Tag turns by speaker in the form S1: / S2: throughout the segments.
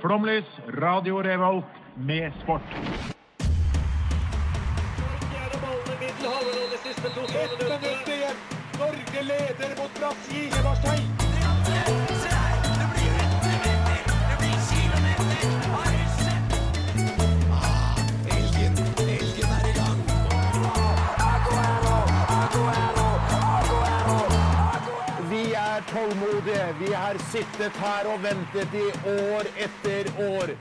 S1: Flomlys, Radio Revolt med sport.
S2: Fjerde ballen i middelhavet og de siste to
S3: Ett minutt igjen. Norge leder mot Brasil. Evarstein. Vi er tålmodige. Vi har sittet her og ventet i år etter år.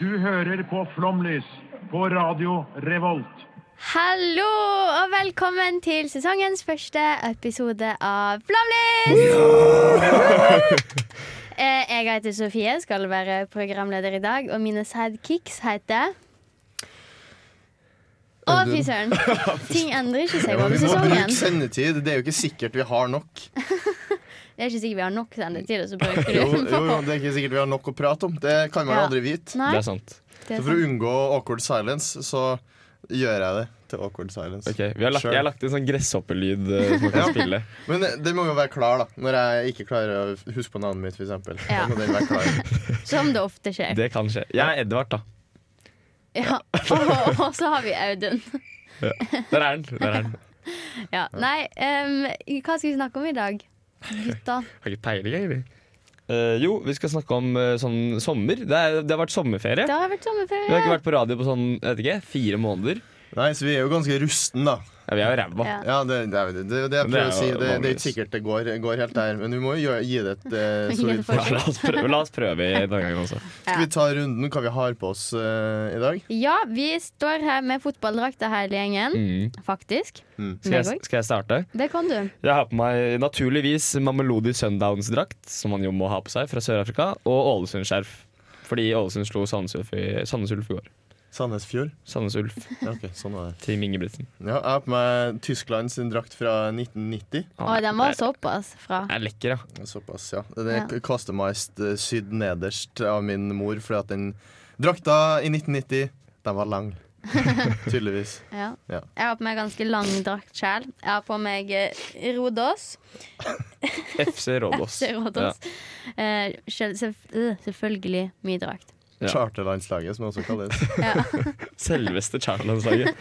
S1: Du hører på Flomlys på Radio Revolt.
S4: Hallo og velkommen til sesongens første episode av Flomlys! Eh, Jeg heter Sofie, skal være programleder i dag, og mine sidekicks heter Å, fy søren. Ting endrer ikke seg over
S5: Vi må bruke
S4: sesongen.
S5: sendetid. Det er jo ikke sikkert vi har nok.
S4: Det er ikke sikkert vi har nok sendetid, og så bruker
S5: Jo,
S4: du den
S5: jo, jo,
S4: på.
S5: det er ikke sikkert vi har nok å prate om. Det kan man
S4: Ja.
S5: aldri vite.
S4: Nei,
S6: Det er sant.
S4: det
S5: Så
S4: er
S5: for å
S4: sant.
S5: unngå awkward silence, så gjør jeg det til awkward silence.
S6: Ok, vi har lagt,
S5: Sure.
S6: Jeg har lagt en sånn gresshoppelyd eh, som man kan
S5: Ja.
S6: spille.
S5: Men den må jo være klar, da. Når jeg ikke klarer å huske på navnet mitt, f.eks.
S4: Ja.
S5: Ja. Må den være klar.
S4: Som det ofte skjer.
S6: Det kan skje. Jeg er Edvard, da.
S4: Ja. Og, og så har vi Audun.
S6: Der er den. Der er den.
S4: Ja. Nei, em, hva skal vi snakke om i dag? Gutta.
S6: Har ikke peiling, egentlig. Eh, jo, vi skal snakke om eh, sånn sommer. Det, er, det har vært sommerferie.
S4: Det har vært
S6: Vi har ikke
S4: sommerferie.
S6: vært på radio på sånn jeg vet ikke, fire måneder.
S5: Nei, så vi er jo ganske rusten, da.
S6: Ja, vi er jo ræva.
S4: Ja.
S5: Ja, det, det, er jo det, det, er det jeg
S6: Men det
S5: prøver å
S6: er
S5: si.
S6: jo
S5: Det, det er
S6: vanligvis.
S5: ikke sikkert det går, går helt der. Men vi må jo gjøre- gi det et
S4: Gi
S5: eh,
S4: det
S5: solid
S4: et
S6: Ja,
S4: forsøk.
S5: forsøk.
S6: la, oss prøve, la oss prøve denne gangen også.
S5: Skal vi ta runden hva vi har på oss eh, i dag?
S4: Ja, vi står her med fotballdrakter hele gjengen,
S6: Mm.
S4: faktisk.
S5: Mm.
S6: Skal, jeg, skal jeg starte?
S4: Det kan du.
S6: Jeg har på meg naturligvis Mamelodi Sundowns-drakt, som man jo må ha på seg, fra Sør-Afrika, og Ålesund-skjerf. Fordi Ålesund slo Sandnes Ulf i Sandnes Ulf i går.
S5: Sandnesfjord.
S6: Sandnes Ulf,
S5: Ja, ok, sånn var det.
S6: Team Ingebrigtsen.
S5: Ja, jeg har på meg Tyskland sin drakt fra 1990.
S4: Å, den var såpass fra.
S6: Den er lekker, ja.
S5: Såpass, ja. Den er
S4: Ja.
S5: k- customized eh, sydd nederst av min mor, fordi at den drakta i 1990, den var lang. Tydeligvis.
S4: Ja.
S5: Ja.
S4: Jeg har på meg ganske lang drakt sjæl. Jeg har på meg eh, Rodos.
S6: FC Rådås.
S4: FC Rodos. Eh, sjel selv, øh, selvfølgelig mye drakt.
S6: Ja.
S5: Charterlandslaget, som det også kalles.
S6: Ja. Selveste Charlotte-landslaget.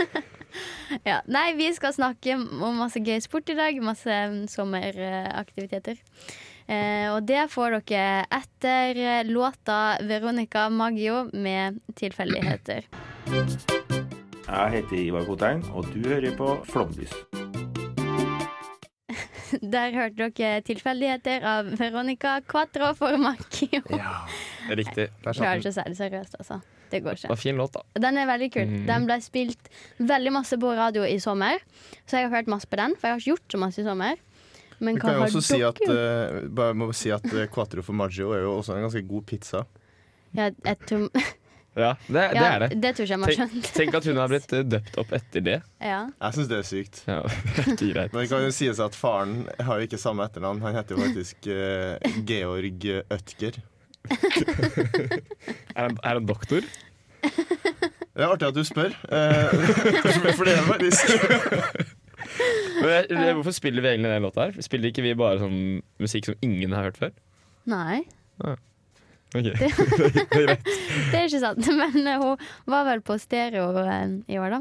S4: Ja. Nei, vi skal snakke om masse gøy sport i dag. Masse mm, sommeraktiviteter. Eh, og det får dere etter eh, låta 'Veronica Maggio' med 'Tilfeldigheter'.
S7: Jeg heter Ivar Kotein, og du hører på Flomlys.
S4: Der hørte dere tilfeldigheter av Veronica Quatro for Macchio.
S6: Riktig. sånn-
S4: Klarer
S5: Der satt den.
S4: ikke å si det seriøst, altså. Det går
S6: Det var
S4: ikke.
S6: fin låt, da.
S4: Den er veldig kul.
S5: Mhm.
S4: Den ble spilt veldig masse på radio i sommer, så jeg har hørt masse på den. For jeg har ikke gjort så masse i sommer. Men
S5: Vi kan jo
S4: hva har
S5: også si
S4: dere
S5: at,
S4: gjort?
S5: eh, bare må si at eh, Quattro for Maggio er jo også en ganske god pizza.
S4: ja, jeg tror,
S6: Ja, det, det
S4: ja,
S6: er det.
S4: det tror ikke jeg man har
S6: Tenk,
S4: skjønt.
S6: tenk at hun har blitt eh, døpt opp etter det.
S4: Ja.
S5: Jeg syns det er sykt.
S6: Ja, det er ikke greit.
S5: Men det kan jo sies at faren har jo ikke samme etternavn. Han heter jo faktisk eh, Georg Ødger.
S6: Er han, er han doktor?
S5: Det er artig at du spør, eh, for det er faktisk
S6: Men, jeg- jeg- hvorfor spiller vi egentlig den låta her? Spiller ikke vi bare sånn musikk som ingen har hørt før?
S4: Nei,
S6: Ok.
S4: det er ikke sant. Men eh, hun var vel på stereo eh, i år, da.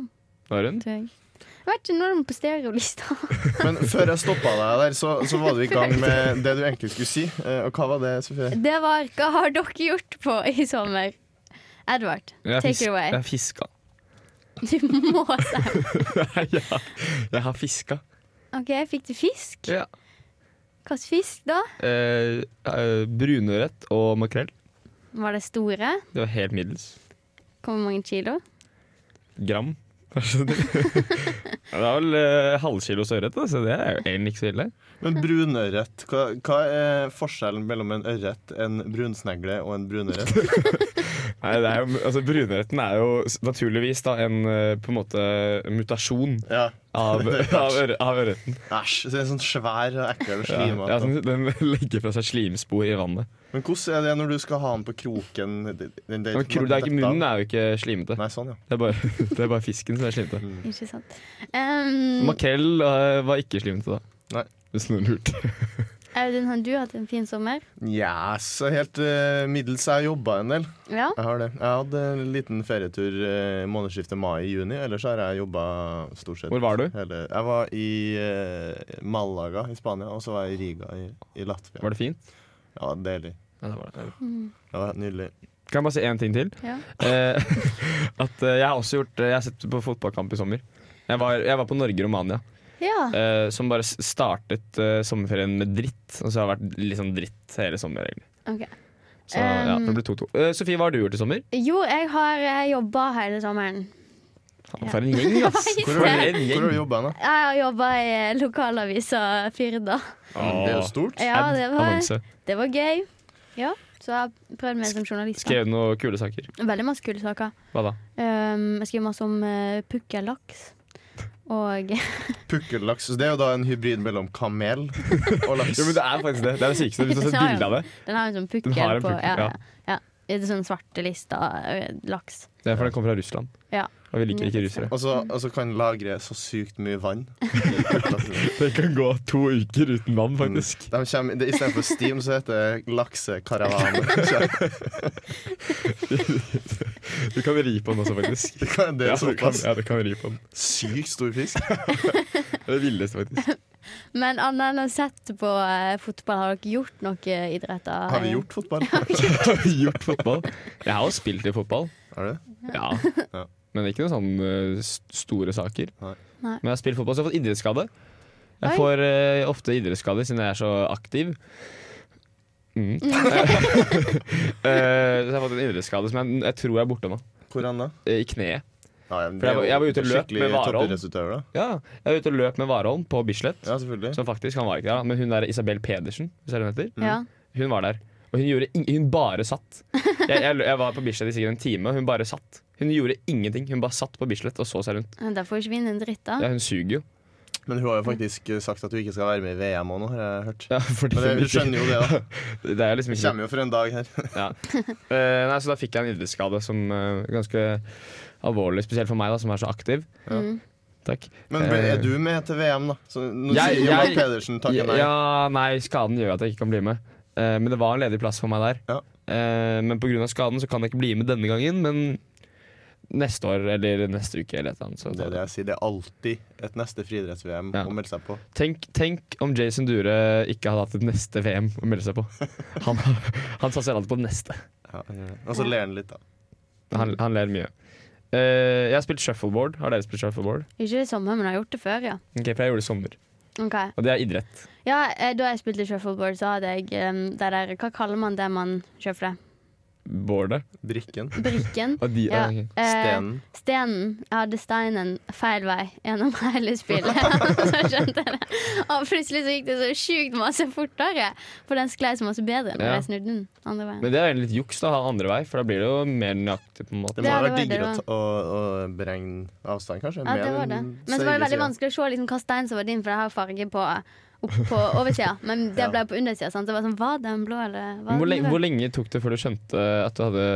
S6: Nå er hun.
S4: Tror jeg. Jeg vet ikke når hun er på stereolista.
S5: Men før jeg stoppa deg der, så, så var du i gang med det du egentlig skulle si. Eh, og hva var det, Sofie?
S4: Det var Hva har dere gjort på i sommer? Edvard,
S6: Jeg har
S4: take
S6: fisk-
S4: it away.
S6: Jeg har fiska.
S4: Du må si
S6: Nei, ja. Jeg har fiska.
S4: OK, fikk du fisk?
S6: Ja.
S4: Hva slags fisk da?
S6: Eh, eh, Brunørret og makrell.
S4: Var det store?
S6: Det var helt middels.
S4: Hvor mange kilo?
S6: Gram. Kanskje det Ja, det er vel eh, halvkilo størret, da, så det er jo egentlig ikke så ille.
S5: Men brunørret. Hva, hva er forskjellen mellom en ørret, en brunsnegle og en brunørret?
S6: Nei, det er jo, altså, Brunørreten er jo s- naturligvis da, en eh, på en måte mutasjon
S5: Ja.
S6: av, av, ør, av ørreten.
S5: Æsj. Så det er sånn svær og ekkel og
S6: Ja,
S5: slimete.
S6: ja, den, den legger fra seg slimspor i vannet.
S5: Men hvordan er det når du skal ha den på kroken? Den, den,
S6: Men kro- det er ikke, munnen er jo ikke slimete.
S5: Nei, sånn, ja.
S6: Det er, bare, det er bare fisken som er slimete.
S4: Ikke sant. Ehm,
S6: Makrell eh, var ikke slimete da.
S5: Nei.
S6: Hvis noen lurte.
S4: Audun, har du hatt en fin sommer?
S5: Nja, så helt eh, middels. Jeg har jobba en del.
S4: Ja.
S5: Jeg har det. Jeg hadde en liten ferietur eh, månedsskiftet mai-juni. Ellers har jeg jobba stort sett
S6: Hvor var du?
S5: hele Jeg var i eh, Malaga i Spania, og så var jeg i Riga i, i Latvia.
S6: Var det fint?
S5: Ja, deilig.
S6: Ja, det var det.
S5: Det var helt nydelig.
S6: Kan jeg bare si én ting til?
S4: ja.
S6: Eh, at eh, jeg har også gjort eh, Jeg har sett på fotballkamp i sommer. Jeg var, jeg var på Norge-Romania,
S4: ja.
S6: eh, som bare s- startet eh, sommerferien med dritt. Og så har det vært litt sånn dritt hele sommer, egentlig.
S4: Ok.
S6: Så ja,
S4: Um,
S6: det ble 2-2. Eh, Sofie, hva har du gjort i sommer?
S4: Jo, jeg har jobba hele sommeren.
S6: Faen, For en gjeng, ass!
S4: Jeg
S5: Hvor
S6: For
S5: har
S6: en
S5: du, hvor
S6: gjeng.
S5: har du jobba hen, da?
S4: Jeg har jobba i eh, lokalavisa Firda.
S5: Det er jo stort.
S4: Ja,
S6: Ad,
S4: det var,
S6: annonse.
S4: det var gøy. Ja, så jeg har prøvd meg som journalist. da.
S6: Skrev du noen kule saker?
S4: Veldig masse kule saker.
S6: Hva da?
S4: Um, jeg skriver masse om uh, pukkellaks. Og
S5: Pukkellaks. Så Det er jo da en hybrid mellom kamel og laks.
S6: Jo, men det er faktisk det. Det er det sykeste. Hvis du har sett
S4: Ja, ja.
S6: bilde av det.
S4: den har en sånn pukkel
S6: Den har en
S4: på.
S6: pukkel,
S4: Ja,
S6: ja.
S4: ja. Det er sånn svartelista eh, laks.
S6: Det er fordi den kommer fra Russland.
S4: Ja.
S6: Og vi liker ikke russere.
S5: Og så og så kan den lagre så sykt mye vann.
S6: Det kan gå to uker uten vann, faktisk.
S5: De kommer, det, istedenfor steam så heter det laksekaravan.
S6: Mm. Du kan ri på den også, faktisk.
S5: Det kan- Det
S6: Ja,
S5: er
S6: du kan,
S5: såpass
S6: ja, du kan ri på den.
S5: sykt stor fisk.
S6: Det er det villeste, faktisk.
S4: Men annet enn å sette på eh, fotball, har dere gjort noe idretter?
S5: Har vi gjort fotball?
S6: Har vi gjort fotball? Jeg har jo spilt i fotball.
S5: Har du det?
S6: Ja.
S5: Ja.
S6: Men ikke noen sånne eh, s- store saker.
S5: Nei.
S4: Nei.
S6: Men jeg har spilt fotball, så jeg har fått idrettsskade. Jeg
S4: Oi.
S6: får eh, ofte idrettsskader siden jeg er så aktiv. Mm. Eh, så jeg har fått en idrettsskade som jeg, jeg tror jeg er borte nå.
S5: Hvor hen da?
S6: Eh, I kneet.
S5: Ja, men
S6: For jeg var- jeg var ute og løp med Warholm.
S5: toppidrettsutøver, da.
S6: Ja, jeg var ute og løp med Warholm på Bislett.
S5: Ja, selvfølgelig.
S6: Som faktisk, han var ikke der, da, men hun der Isabel Pedersen, hvis jeg heter.
S4: Ja.
S6: Hun var der. Og hun gjorde ing Hun bare satt. Jeg, jeg, jeg var på Bislett i sikkert en time, og hun bare satt. Hun gjorde ingenting. Hun bare satt på Bislett og så seg rundt.
S4: Men Da får vi ikke vinne en dritt, da.
S6: Ja, hun suger jo.
S5: Men hun har jo faktisk eh, sagt at hun ikke skal være med i VM òg nå, har jeg hørt.
S6: Ja, fordi
S5: Men det,
S6: hun
S5: vi
S6: ikke-
S5: skjønner jo det, da.
S6: Det er liksom
S5: Vi
S6: ikke
S5: kommer jo for en dag her.
S6: ja. Eh, Nei, Så da fikk jeg en idrettsskade som eh, ganske alvorlig, spesielt for meg, da, som er så aktiv. Takk.
S5: Men ble- er du med til VM, da? Så nå
S6: Eh. Jeg-
S5: sier Mark
S6: jeg-
S5: Pedersen takker nei.
S6: Ja, nei, skaden gjør at jeg ikke kan bli med. Eh, men det var en ledig plass for meg der.
S5: Ja.
S6: Eh, men pga. skaden så kan jeg ikke bli med denne gangen, men neste år eller neste uke eller et eller annet. Så
S5: Det er det jeg sier. Det er alltid et neste friidretts-VM
S6: Ja.
S5: å melde seg på.
S6: Tenk, tenk om Jason Dure ikke hadde hatt et neste VM å melde seg på. Han, han satser alltid på det neste.
S5: Ja, jeg gjør det. og så ler han litt, da.
S6: Men Han, han ler mye. Eh, jeg har spilt shuffleboard. Har dere spilt shuffleboard?
S4: Ikke i sommer, men jeg har gjort det før, ja.
S6: Ok, For jeg gjorde det i sommer.
S4: Ok.
S6: Og det er idrett.
S4: Ja, eh, Da jeg spilte shuffleboard, så hadde jeg eh, det der Hva kaller man det man shuffler?
S6: Boardet.
S5: Brikken.
S4: Brikken?
S6: Og de,
S4: Ja.
S6: ok.
S4: eh,
S5: Stenen.
S4: Stenen. Jeg hadde steinen feil vei gjennom hele spillet. så skjønte jeg det. Og plutselig så gikk det så sjukt masse fortere, for den sklei så masse bedre når
S6: Ja.
S4: jeg snudde den andre veien.
S6: Men det er egentlig litt juks da, å ha andre vei, for da blir det jo mer nøyaktig. på en måte
S5: Det må
S4: Ja,
S5: ha
S4: det
S5: vært
S4: var det
S5: diggere å,
S4: det
S5: ta- å, å beregne avstand, kanskje?
S4: Ja, det var det. Men så var det veldig vanskelig å se liksom, hva stein som var din, for jeg har farge på, opp på oversida. Men det ble på undersida. sant? Det var sånn, var den blå, eller var
S6: Hvor,
S4: den
S6: lenge,
S4: rød?
S6: hvor lenge tok det før du skjønte at du hadde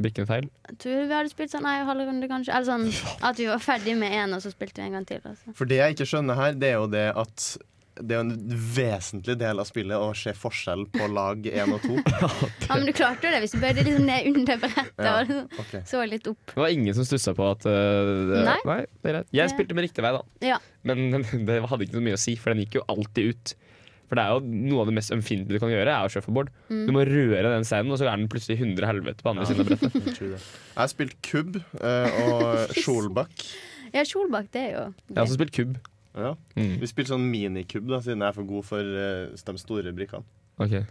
S6: brikken feil?
S4: Jeg tror vi hadde spilt sånn en halv runde, kanskje. Eller sånn at vi var ferdig med én, og så spilte vi en gang til. Altså.
S5: For det jeg ikke skjønner her, det er jo det at det er jo en vesentlig del av spillet å se forskjell på lag én og to.
S4: Ja, men du klarte jo det hvis du bøyde liksom ned under brettet
S5: Ja.
S4: og liksom
S5: Ok.
S4: så litt opp.
S6: Det var ingen som stussa på at eh, det,
S4: Nei.
S6: det er greit. Jeg
S4: Det-
S6: spilte med riktig vei, da.
S4: Ja.
S6: Men det hadde ikke så mye å si, for den gikk jo alltid ut. For det er jo noe av det mest ømfintlige du kan gjøre, er jo shuffleboard.
S4: Mm.
S6: Du må røre den steinen, og så er den plutselig 100 helvete på andre siden av brettet.
S5: Jeg har spilt kubb eh, og skjolbakk.
S4: ja, Solbakk, det er jo
S6: Jeg har også spilt kubb.
S5: Ja.
S6: Mm.
S5: Vi spilte sånn minikubb, da, siden jeg er for god for eh, de store brikkene.
S6: Ok.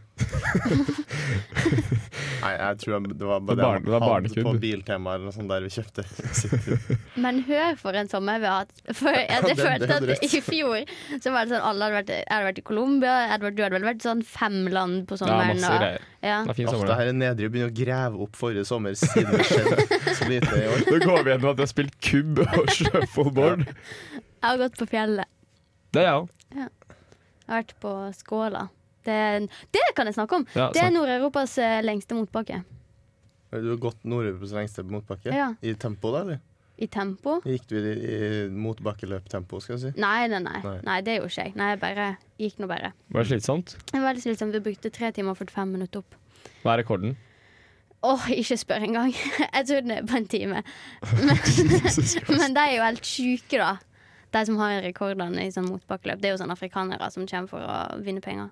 S5: Nei, jeg tror jeg, det var
S6: Det
S5: bare
S6: var
S5: det
S6: barn-
S5: jeg
S6: det var
S5: hadde på
S6: barnekubb.
S5: Biltema eller noe sånt der vi kjøpte.
S4: Men hør for en sommer vi har hatt. For jeg
S5: det- det
S4: følte
S5: hadde
S4: at
S5: rett.
S4: i fjor så var det sånn alle hadde vært, jeg hadde vært i Colombia, Edvard, du hadde vel vært i sånn fem land på
S6: Ja,
S4: sommeren.
S6: masse greier.
S4: og, ja.
S6: Det var fin
S5: Ofte
S6: sommer. da.
S5: her er nedre begynner å grave opp forrige sommer siden det skjedde så lite i år.
S6: Nå går vi gjennom at vi har spilt kubb og shuffleboard.
S4: Jeg har gått på fjellet.
S6: Det er jeg òg.
S4: Jeg har vært på Skåla. Det, det kan jeg snakke om!
S6: Ja,
S4: det er
S6: snakk.
S4: Nord-Europas eh, lengste motbakke.
S5: Har du gått Nord-Europas lengste motbakke?
S4: Ja.
S5: I tempo, da, eller?
S4: i tempo.
S5: Gikk du i, i mot bakkeløptempo, skal jeg si?
S4: Nei, nei, nei,
S5: Nei.
S4: nei, det gjorde ikke jeg. Nei, jeg bare gikk nå bare.
S6: Var det slitsomt?
S4: Det var veldig slitsomt. Vi brukte tre timer og 45 minutter opp.
S6: Hva er rekorden?
S4: Åh, ikke spør engang. Jeg tror den er på en time. Men, men de er jo helt sjuke, da. De som har rekordene i sånn motbakkeløp. Det er jo sånne afrikanere som kommer for å vinne penger.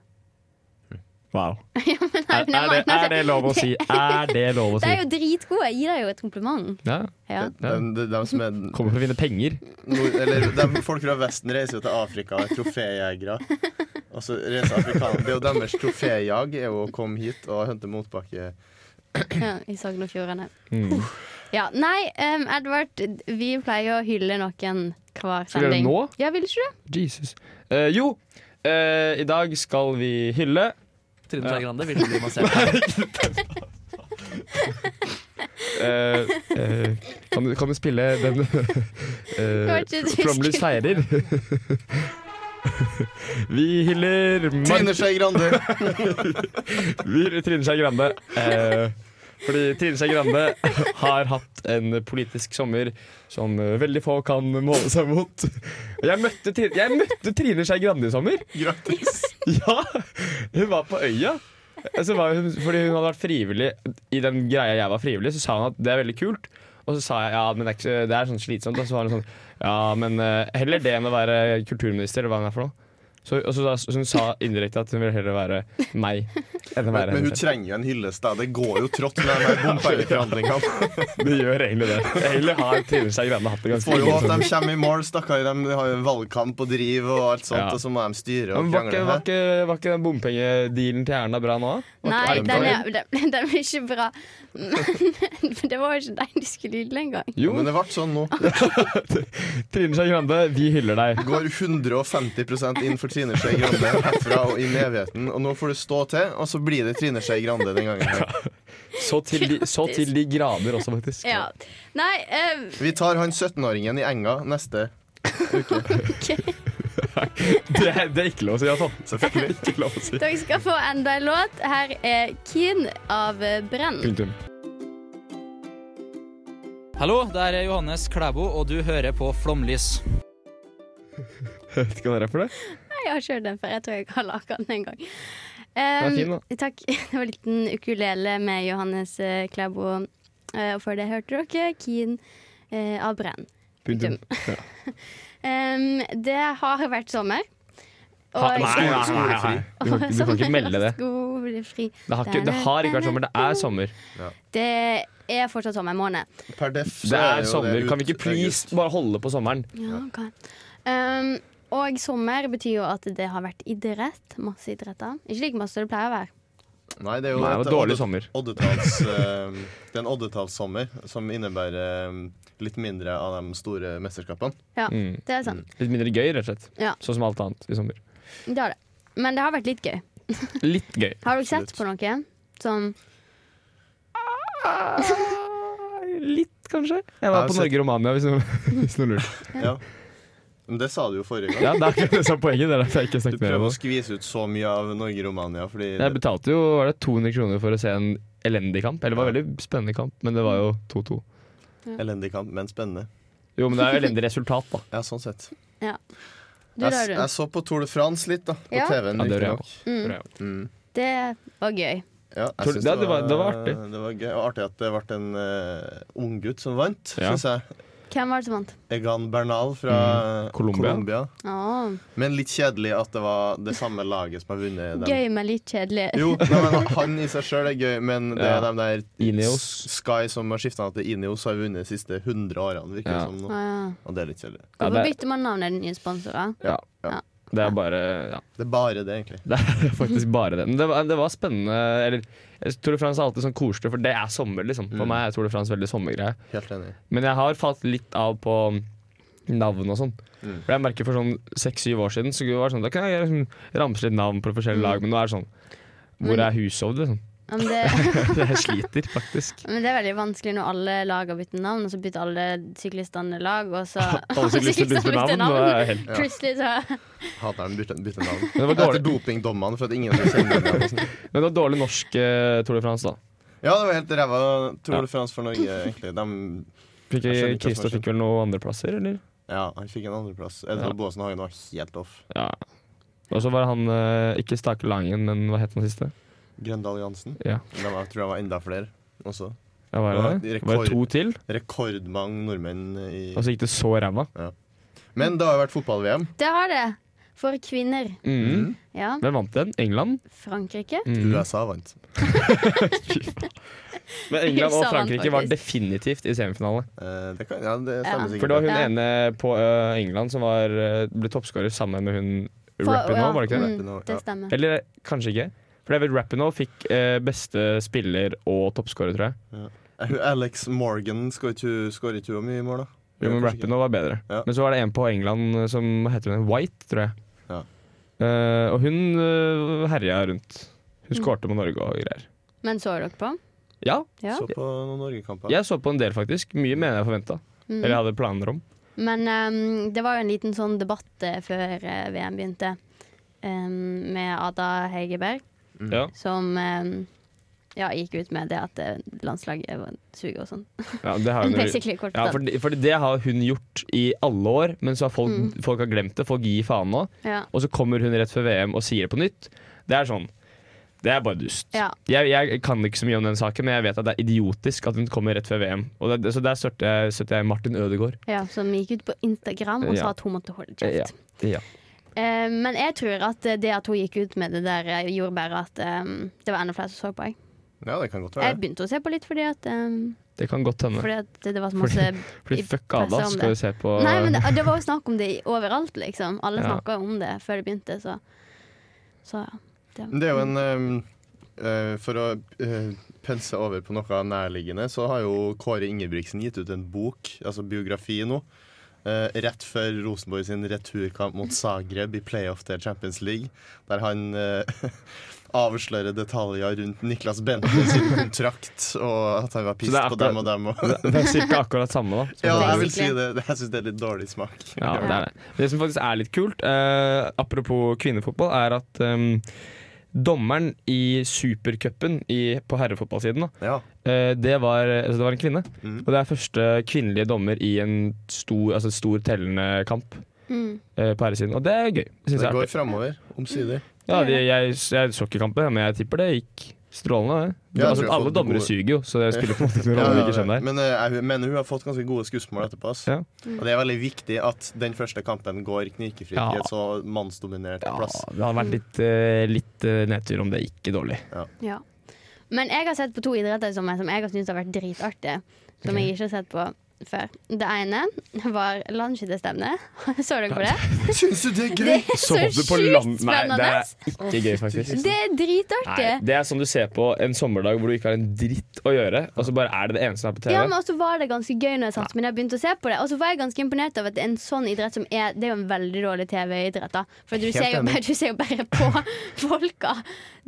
S6: Wow.
S4: ja, men
S6: Er,
S4: jeg,
S6: er, det,
S4: mener
S6: er det lov å si? Er det lov å
S4: De
S6: si?
S4: er jo dritgode. Gi dem jo et kompliment.
S6: Ja.
S4: Ja.
S6: Ja.
S5: De, de, de som er
S6: Kommer for å vinne penger.
S5: Nord, eller de folk fra Vesten reiser jo til Afrika og er troféjegere. Og så reiser afrikanerne. Det er jo deres troféjag er jo å komme hit og hente motbakke.
S4: Ja, I Sogn og Fjordane.
S6: Mm.
S4: Ja, nei, em, Edvard, vi pleier å hylle noen hver
S6: Skal vi gjøre det
S4: sending.
S6: nå?
S4: Ja, vil ikke du?
S6: Jesus. Eh, jo, eh, i dag skal vi hylle
S8: Trine Skei Grande ville bli massert.
S6: eh, eh, kan, du- kan du spille den
S4: var
S6: uh,
S4: ikke det du
S6: Flomlys
S4: skulle-
S6: feirer. vi hyller Mar-
S5: Trine Skei Grande!
S6: Vi hyller Trine Skei Grande. eh, fordi Trine Skei Grande har hatt en politisk sommer som eh, veldig få kan måle seg mot. Og Jeg møtte, Tri- jeg møtte Trine Skei Grande i sommer.
S5: Grattis!
S6: Ja, hun var på øya. Så var hun, fordi hun hadde vært frivillig I den greia jeg var frivillig, så sa hun at det er veldig kult. Og så sa jeg ja, men det er, ikke, så- det er sånn slitsomt. Og så var hun sånn ja, men eh, heller det enn å være kulturminister, eller hva hun er for noe. Så, og så, sa- så hun sa indirekte at hun ville heller være meg enn
S5: Men,
S6: å
S5: men
S6: være
S5: hun
S6: henne selv.
S5: trenger jo en hyllest, da. Det går jo trått med de her bompengeforhandlingene.
S6: Det gjør egentlig det. Egentlig har Trine Skei Grande hatt det ganske
S5: Får jo at
S6: ille.
S5: de kommer i mål, stakkar. De har jo valgkamp og driv og alt sånt,
S6: Ja.
S5: og så må de styre
S6: Men
S5: og
S6: var ikke,
S5: krangle.
S6: var, ikke, var ikke den bompengedealen til Erna bra nå?
S4: Nei,
S5: det
S4: den
S5: bra?
S4: er, den, den er ikke bra. Men det var jo ikke den du skulle hylle engang.
S5: Jo, men det ble sånn nå.
S6: Trine Skei Grande, vi hyller deg.
S5: Går 150 inn for Trine Skei Grande herfra og inn i evigheten. Og nå får du stå til, og så blir det Trine Skei Grande den gangen her.
S6: Så til de, så til de grader også, faktisk.
S4: Ja. Nei, em,
S5: Vi tar han 17-åringen i enga neste.
S6: Det, er- det er ikke lov å si, altså. Selvfølgelig ikke lov å si.
S4: dere skal få enda en låt. Her er Keen av eh, Brenn.
S6: Punktum.
S8: Hallo, der er Johannes Klæbo, og du hører på Flomlys.
S6: Vet ikke hva det er for det.
S4: Nei, Jeg har ikke hørt den før. Jeg tror jeg har laga den en gang.
S6: Den er fin, da.
S4: Em, takk. Det var en liten ukulele med Johannes eh, Klæbo. Eh, Og før det hørte dere Keen eh, av Brenn.
S6: Punktum.
S4: Em, det har vært sommer. Og-
S6: Ha, nei, nei, nei, nei. Du, kan, du kan ikke melde det.
S4: Skolefri.
S6: Det har ikke, det har ikke vært sommer. Det er sommer.
S4: Det er fortsatt sommermåned.
S5: Per def så
S6: Det
S5: jo
S6: er sommer. Kan vi
S5: ut
S6: ikke please
S5: august.
S6: bare holde på sommeren?
S4: Ja, ok. um, og sommer betyr jo at det har vært idrett. Masse idretter. Ikke like masse det pleier å være.
S5: Nei, det er jo
S6: Nei, det
S5: et
S6: var dårlig
S5: oddet-
S6: sommer.
S5: oddetalls, eh, det er en oddetallssommer som innebærer eh, litt mindre av de store mesterskapene.
S4: Ja,
S6: Mm.
S4: det er sant.
S6: Litt mindre gøy, rett og slett.
S4: Ja.
S6: Sånn som alt annet i sommer. Mm.
S4: Det har det. Men det har vært litt gøy.
S6: Litt gøy.
S4: Har dere
S5: Absolutt.
S4: sett på noe? Sånn
S6: Litt, kanskje. Jeg
S5: har
S6: var på
S5: sett-
S6: Norge-Romania, hvis du- hvis du lurer.
S5: Ja. Men det sa du jo forrige gang.
S6: Ja, det er akkurat det som er poenget. Det er derfor jeg ikke har
S5: Du
S6: snakket mer
S5: prøver
S6: om
S5: å
S6: det.
S5: skvise ut så mye av Norge-Romania fordi
S6: Jeg betalte jo var det 200 kroner for å se en elendig kamp. Eller det var en veldig spennende kamp, men det var jo 2-2.
S5: Elendig kamp, men spennende.
S6: Jo, men det er jo elendig resultat, da.
S5: Ja, sånn sett.
S4: Du,
S5: jeg,
S4: da,
S5: s- jeg
S4: Rune.
S5: så på Tour de France litt, da. På
S4: Ja.
S5: TV-en,
S6: Ja, det gjorde jeg
S5: riktignok.
S6: også.
S4: Mm, det var gøy.
S5: Ja, jeg
S6: Tror-
S5: synes
S6: ja, det var- det var artig.
S5: Det var gøy. Og artig at det ble en uh, unggutt som vant,
S6: Ja.
S5: synes jeg.
S4: Hvem var det som vant?
S5: Egan Bernal fra
S6: Mm, Colombia.
S5: Colombia.
S4: Å,
S5: Men litt kjedelig at det var det samme laget som har vunnet. dem.
S4: gøy, men litt kjedelig.
S5: Jo, nei, men han i seg sjøl er gøy, men det er
S6: Ja.
S5: de der
S6: Ineos.
S5: S- Sky som har skifta til Ineos, har vunnet de siste 100 årene, virker det
S6: Ja.
S5: som.
S4: Å,
S5: nå.
S4: ja.
S5: Og det er litt kjedelig.
S6: Ja,
S4: Hvorfor
S6: det-
S4: bytter man navnet til nye sponsorer?
S6: Ja.
S5: Ja.
S6: Det er bare ja.
S5: Det er bare det, egentlig.
S6: Det er faktisk bare det. Men det var, det var spennende. Eller, Tour de France er alltid sånn koselig, for det er sommer, liksom. For meg er Tour de France veldig sommergreie.
S5: Helt enig.
S6: Men jeg har falt litt av på navn og sånn.
S5: Mm.
S6: For jeg merker for sånn seks-syv år siden Så det var sånn, da kan jeg liksom ramse litt navn på forskjellige
S5: Mm.
S6: lag, men nå er det sånn Hvor er Hushovd, liksom?
S4: Ja, Men det,
S6: Jeg sliter faktisk.
S4: men det er veldig vanskelig når alle lag har byttet navn, og så bytter alle syklistene lag, og så
S6: Alle syklister bytter navn. og det er helt
S4: Plutselig så
S5: Hater når de bytter- bytter navn.
S6: Men det var
S5: Etter
S6: dårlig.
S5: dopingdommene for at ingen vil kjenne dem.
S6: Men det var dårlig norsk eh, Tour de France, da.
S5: Ja, det var helt ræva Tour
S6: Ja.
S5: de France for Norge, egentlig. De
S6: Fikk
S5: Jeg skjønner ikke hva som
S6: Christer
S5: har skjedd.
S6: fikk vel noen andreplasser, eller?
S5: Ja, han fikk en andreplass. Jeg tror
S6: Ja.
S5: Boasen Hagen var helt off.
S6: Ja. Og så var han eh, ikke Stake Langen, men hva het han siste?
S5: Grøndal Jansen.
S6: Ja.
S5: De var, jeg tror det var enda flere også.
S6: Ja, var
S5: Ja,
S6: det det?
S5: rekord.
S6: Var det to til?
S5: Rekordmange nordmenn i
S6: Og så gikk det så ræva. Altså-
S5: Men det har jo vært fotball-VM.
S4: Det har det. For kvinner.
S6: Mm.
S4: Ja.
S6: Hvem vant den? England?
S4: Frankrike.
S6: Mm.
S5: USA vant.
S6: Men England og
S4: USA vant
S6: Frankrike var
S4: faktisk.
S6: definitivt i semifinale.
S5: Eh, det, kan, ja, det
S4: Ja.
S5: stemmer sikkert.
S6: For det var hun
S4: Ja.
S6: ene på ø, England som var, ø, ble toppskårer sammen med hun
S4: For-
S6: Rapinoe,
S4: ja,
S6: var det ikke det?
S4: mm,
S5: Rapinoe, ja.
S4: Det stemmer.
S6: Eller kanskje ikke. For David Rapinoe fikk ø, beste spiller og toppskårer, tror jeg.
S5: Eh, hun Alex Morgan skårer ikke hun- skårer ikke hun mye mål, da?
S6: Jo, men
S5: Kanskje ikke.
S6: Rapinoe var bedre.
S5: Ja.
S6: Men så var det en på England ø, som hva heter hun White, tror jeg.
S5: Ja.
S6: Eh, og hun ø, herja rundt. Hun
S4: Mm.
S6: skårte mot Norge og greier.
S4: Men så dere på?
S6: Ja,
S4: Ja.
S5: Så på noen Norgekamper.
S6: jeg så på en del, faktisk. Mye mer enn jeg forventa.
S4: Mm.
S6: Eller jeg hadde planer om.
S4: Men ehm, det var jo en liten sånn debatt eh, før eh, VM begynte, ehm, med Ada Hegerberg,
S5: Mm.
S6: Ja.
S4: som ehm, ja, gikk ut med det at eh, landslaget var- suger og sånn.
S6: Ja, det har hun
S4: Basically kort
S6: Ja, for,
S4: fortalt.
S6: for det har hun gjort i alle år, men så har folk,
S4: Mm.
S6: folk har glemt det. Folk gir faen nå.
S4: Ja.
S6: Og så kommer hun rett før VM og sier det på nytt. Det er sånn. Det er bare dust.
S4: Ja.
S6: Jeg, jeg kan ikke så mye om den saken, men jeg vet at det er idiotisk at hun kommer rett før VM. Og det, så der støtter jeg, støtter jeg eh, Martin Ødegaard.
S4: ja, Som gikk ut på Instagram og
S6: Ja.
S4: sa at hun måtte holde kjeft.
S6: Ja. Ja.
S4: Eh, men jeg tror at det at hun gikk ut med det der, eh, gjorde bare at ehm, det var enda flere som så på. Jeg.
S5: Ja, det kan godt være.
S4: jeg
S5: det.
S4: begynte å se på litt fordi at, ehm,
S6: Det kan godt hende.
S4: fordi at det var så masse
S6: Fordi
S4: i
S6: fuck
S4: pressa
S6: Ada,
S4: om
S6: skal
S4: det.
S6: vi se på
S4: Nei, men det, det var jo snakk om det i- overalt, liksom. Alle
S6: Ja.
S4: snakka jo om det før det begynte, så Så ja.
S5: Men Det er jo en eh, eh, For å eh, pense over på noe nærliggende, så har jo Kåre Ingebrigtsen gitt ut en bok, altså biografi nå, eh, rett før Rosenborg sin returkamp mot Zagreb i playoff til Champions League, der han eh, avslører detaljer rundt Niklas Bente sin kontrakt, og at han var
S6: det
S5: pissed
S6: er
S5: på
S6: akkurat-
S5: dem og dem. Og
S6: Det er cirka akkurat samme, da.
S5: ja, jeg vil si det. Jeg syns det er litt dårlig smak.
S6: Ja, det er det. Det som faktisk er litt kult, eh, apropos kvinnefotball, er at eh, dommeren i supercupen i- på herrefotballsiden, da,
S5: Ja.
S6: eh, det, var, altså det var en kvinne.
S5: Mhm.
S6: Og det er første kvinnelige dommer i en stor, altså stor tellende kamp
S4: Mm.
S6: eh, på herresiden, og det er gøy. Det synes
S5: Det
S6: jeg er
S5: går
S6: artig.
S5: framover, omsider.
S6: Ja, de, jeg, jeg så ikke kampen, men jeg tipper det gikk strålende. Det.
S5: Ja, jeg tror
S6: altså,
S5: jeg har
S6: alle
S5: fått
S6: dommere
S5: gode-
S6: suger jo, så det spiller på en måte ikke noen
S5: Ja,
S6: rolle
S5: ja,
S6: hvilket skjønn det er.
S5: Men eh, jeg mener hun har fått ganske gode skussmål etterpå. ass.
S6: Ja.
S5: Og det er veldig viktig at den første kampen går knirkefritt
S6: Ja.
S5: i et så mannsdominert
S6: Ja,
S5: plass.
S6: det hadde vært litt, eh, litt eh, nedtur om det gikk dårlig.
S4: Ja. Men jeg har sett på to idretter som jeg, som jeg har syntes har vært dritartige. Som jeg ikke har sett på før. Det ene var landskytterstevne. Så dere på det?
S5: Syns du det er
S4: Det er så
S6: Sov du på land-
S4: sjukt
S6: Nei, det
S4: spennende!
S6: er ikke gøy, faktisk.
S4: Det er
S6: Nei,
S4: dritartig!
S6: det er som du ser på en sommerdag hvor du ikke har en dritt å gjøre, og så bare er det det eneste som er på TV.
S4: Ja, men også var det ganske gøy når jeg satte meg ned og begynte å se på det. Og så var jeg ganske imponert over at det er en sånn idrett som er Det er jo en veldig dårlig TV-idrett, da. For du
S5: Helt
S4: ser, jo
S5: enig.
S4: bare, du ser jo bare på folka.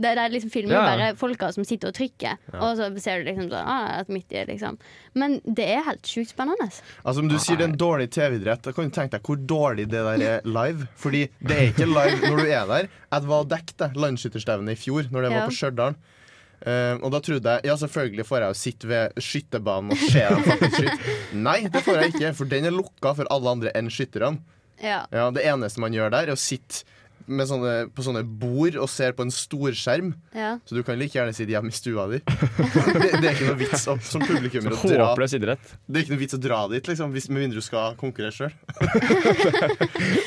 S4: Det er liksom filmer
S6: Ja.
S4: bare folka som sitter og trykker. Og så ser du liksom sånn ah, at midt i, liksom. Men det er helt sjukt spennende.
S5: Altså, om du sier det er en dårlig TV-idrett, da kan du tenke deg hvor dårlig det der er live. Fordi det er ikke live når du er der. Jeg var og dekket det landsskytterstevnet i fjor, når det
S4: Ja.
S5: var på Stjørdal. Eh, og da trodde jeg Ja, selvfølgelig får jeg jo sitte ved skytterbanen og se dem faktisk skyte. Nei, det får jeg ikke, for den er lukka for alle andre enn skytterne.
S4: Ja.
S5: Ja, Det eneste man gjør der, er å sitte med sånne, på sånne bord og ser på en storskjerm.
S4: ja.
S5: Så du kan like gjerne sitte hjemme i stua di. Det, det er ikke noe vits å, som publikummer å dra
S6: Håpløs idrett.
S5: Det er ikke noe vits å dra dit, liksom, hvis, med mindre du skal konkurrere sjøl.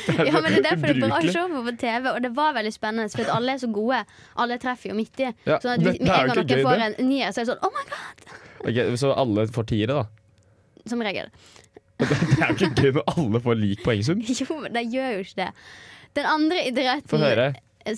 S4: ja, men det er derfor det er bra å
S6: Ubrukelig.
S4: se på på TV, og det var veldig spennende. For at alle er så gode. Alle treffer jo midt i.
S6: Ja,
S4: Sånn at hvis
S6: dette
S4: med
S6: er
S4: en gang
S6: jo ikke
S4: dere
S6: gøy,
S4: får en
S6: det.
S4: nier, så er det sånn Oh my god!
S6: Ok, så alle får tiere, da.
S4: Som regel.
S6: Det er jo ikke gøy når alle får lik poengsum.
S4: Jo, men de gjør jo ikke det. Den andre
S6: Få
S4: idretten
S6: høre.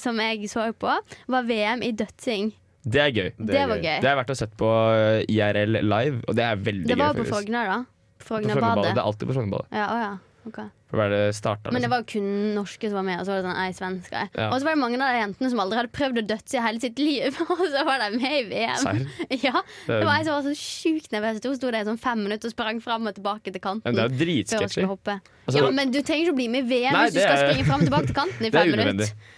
S4: som jeg så på, var VM i dødsing.
S6: Det er gøy.
S4: Det,
S5: Det er
S4: var
S5: gøy.
S4: gøy.
S6: Det er verdt å sette på eh, IRL live, og det er veldig
S4: Det
S6: gøy.
S4: var jo på
S6: faktisk.
S4: Frogner, da.
S6: På Frognerbadet. Det
S4: Frognerbadet.
S6: er alltid på Frognerbadet.
S4: Ja, å ja. ok.
S6: For hva er det starta,
S4: Men det
S6: liksom?
S4: var jo kun norske som var med, og så var det sånn ei svensk ei.
S6: Ja.
S4: Og så var det mange av de jentene som aldri hadde prøvd å dødse i hele sitt liv, og så var de med i VM.
S6: Serr?
S4: Ja,
S6: Det
S4: Det var ei
S6: er-
S4: som var så sjukt nervøs. Hun sto der i sånn fem minutter og sprang fram og tilbake til
S6: Men det er
S4: kanten.
S6: jo
S4: Før hun
S6: dritsketchy.
S4: skulle hoppe.
S6: Altså,
S4: Ja, men du trenger ikke å bli med i VM
S6: Nei,
S4: hvis du
S6: det
S4: skal
S6: er-
S4: springe fram og tilbake til kanten i
S6: Det er
S4: fem
S6: unødvendig.
S4: minutter.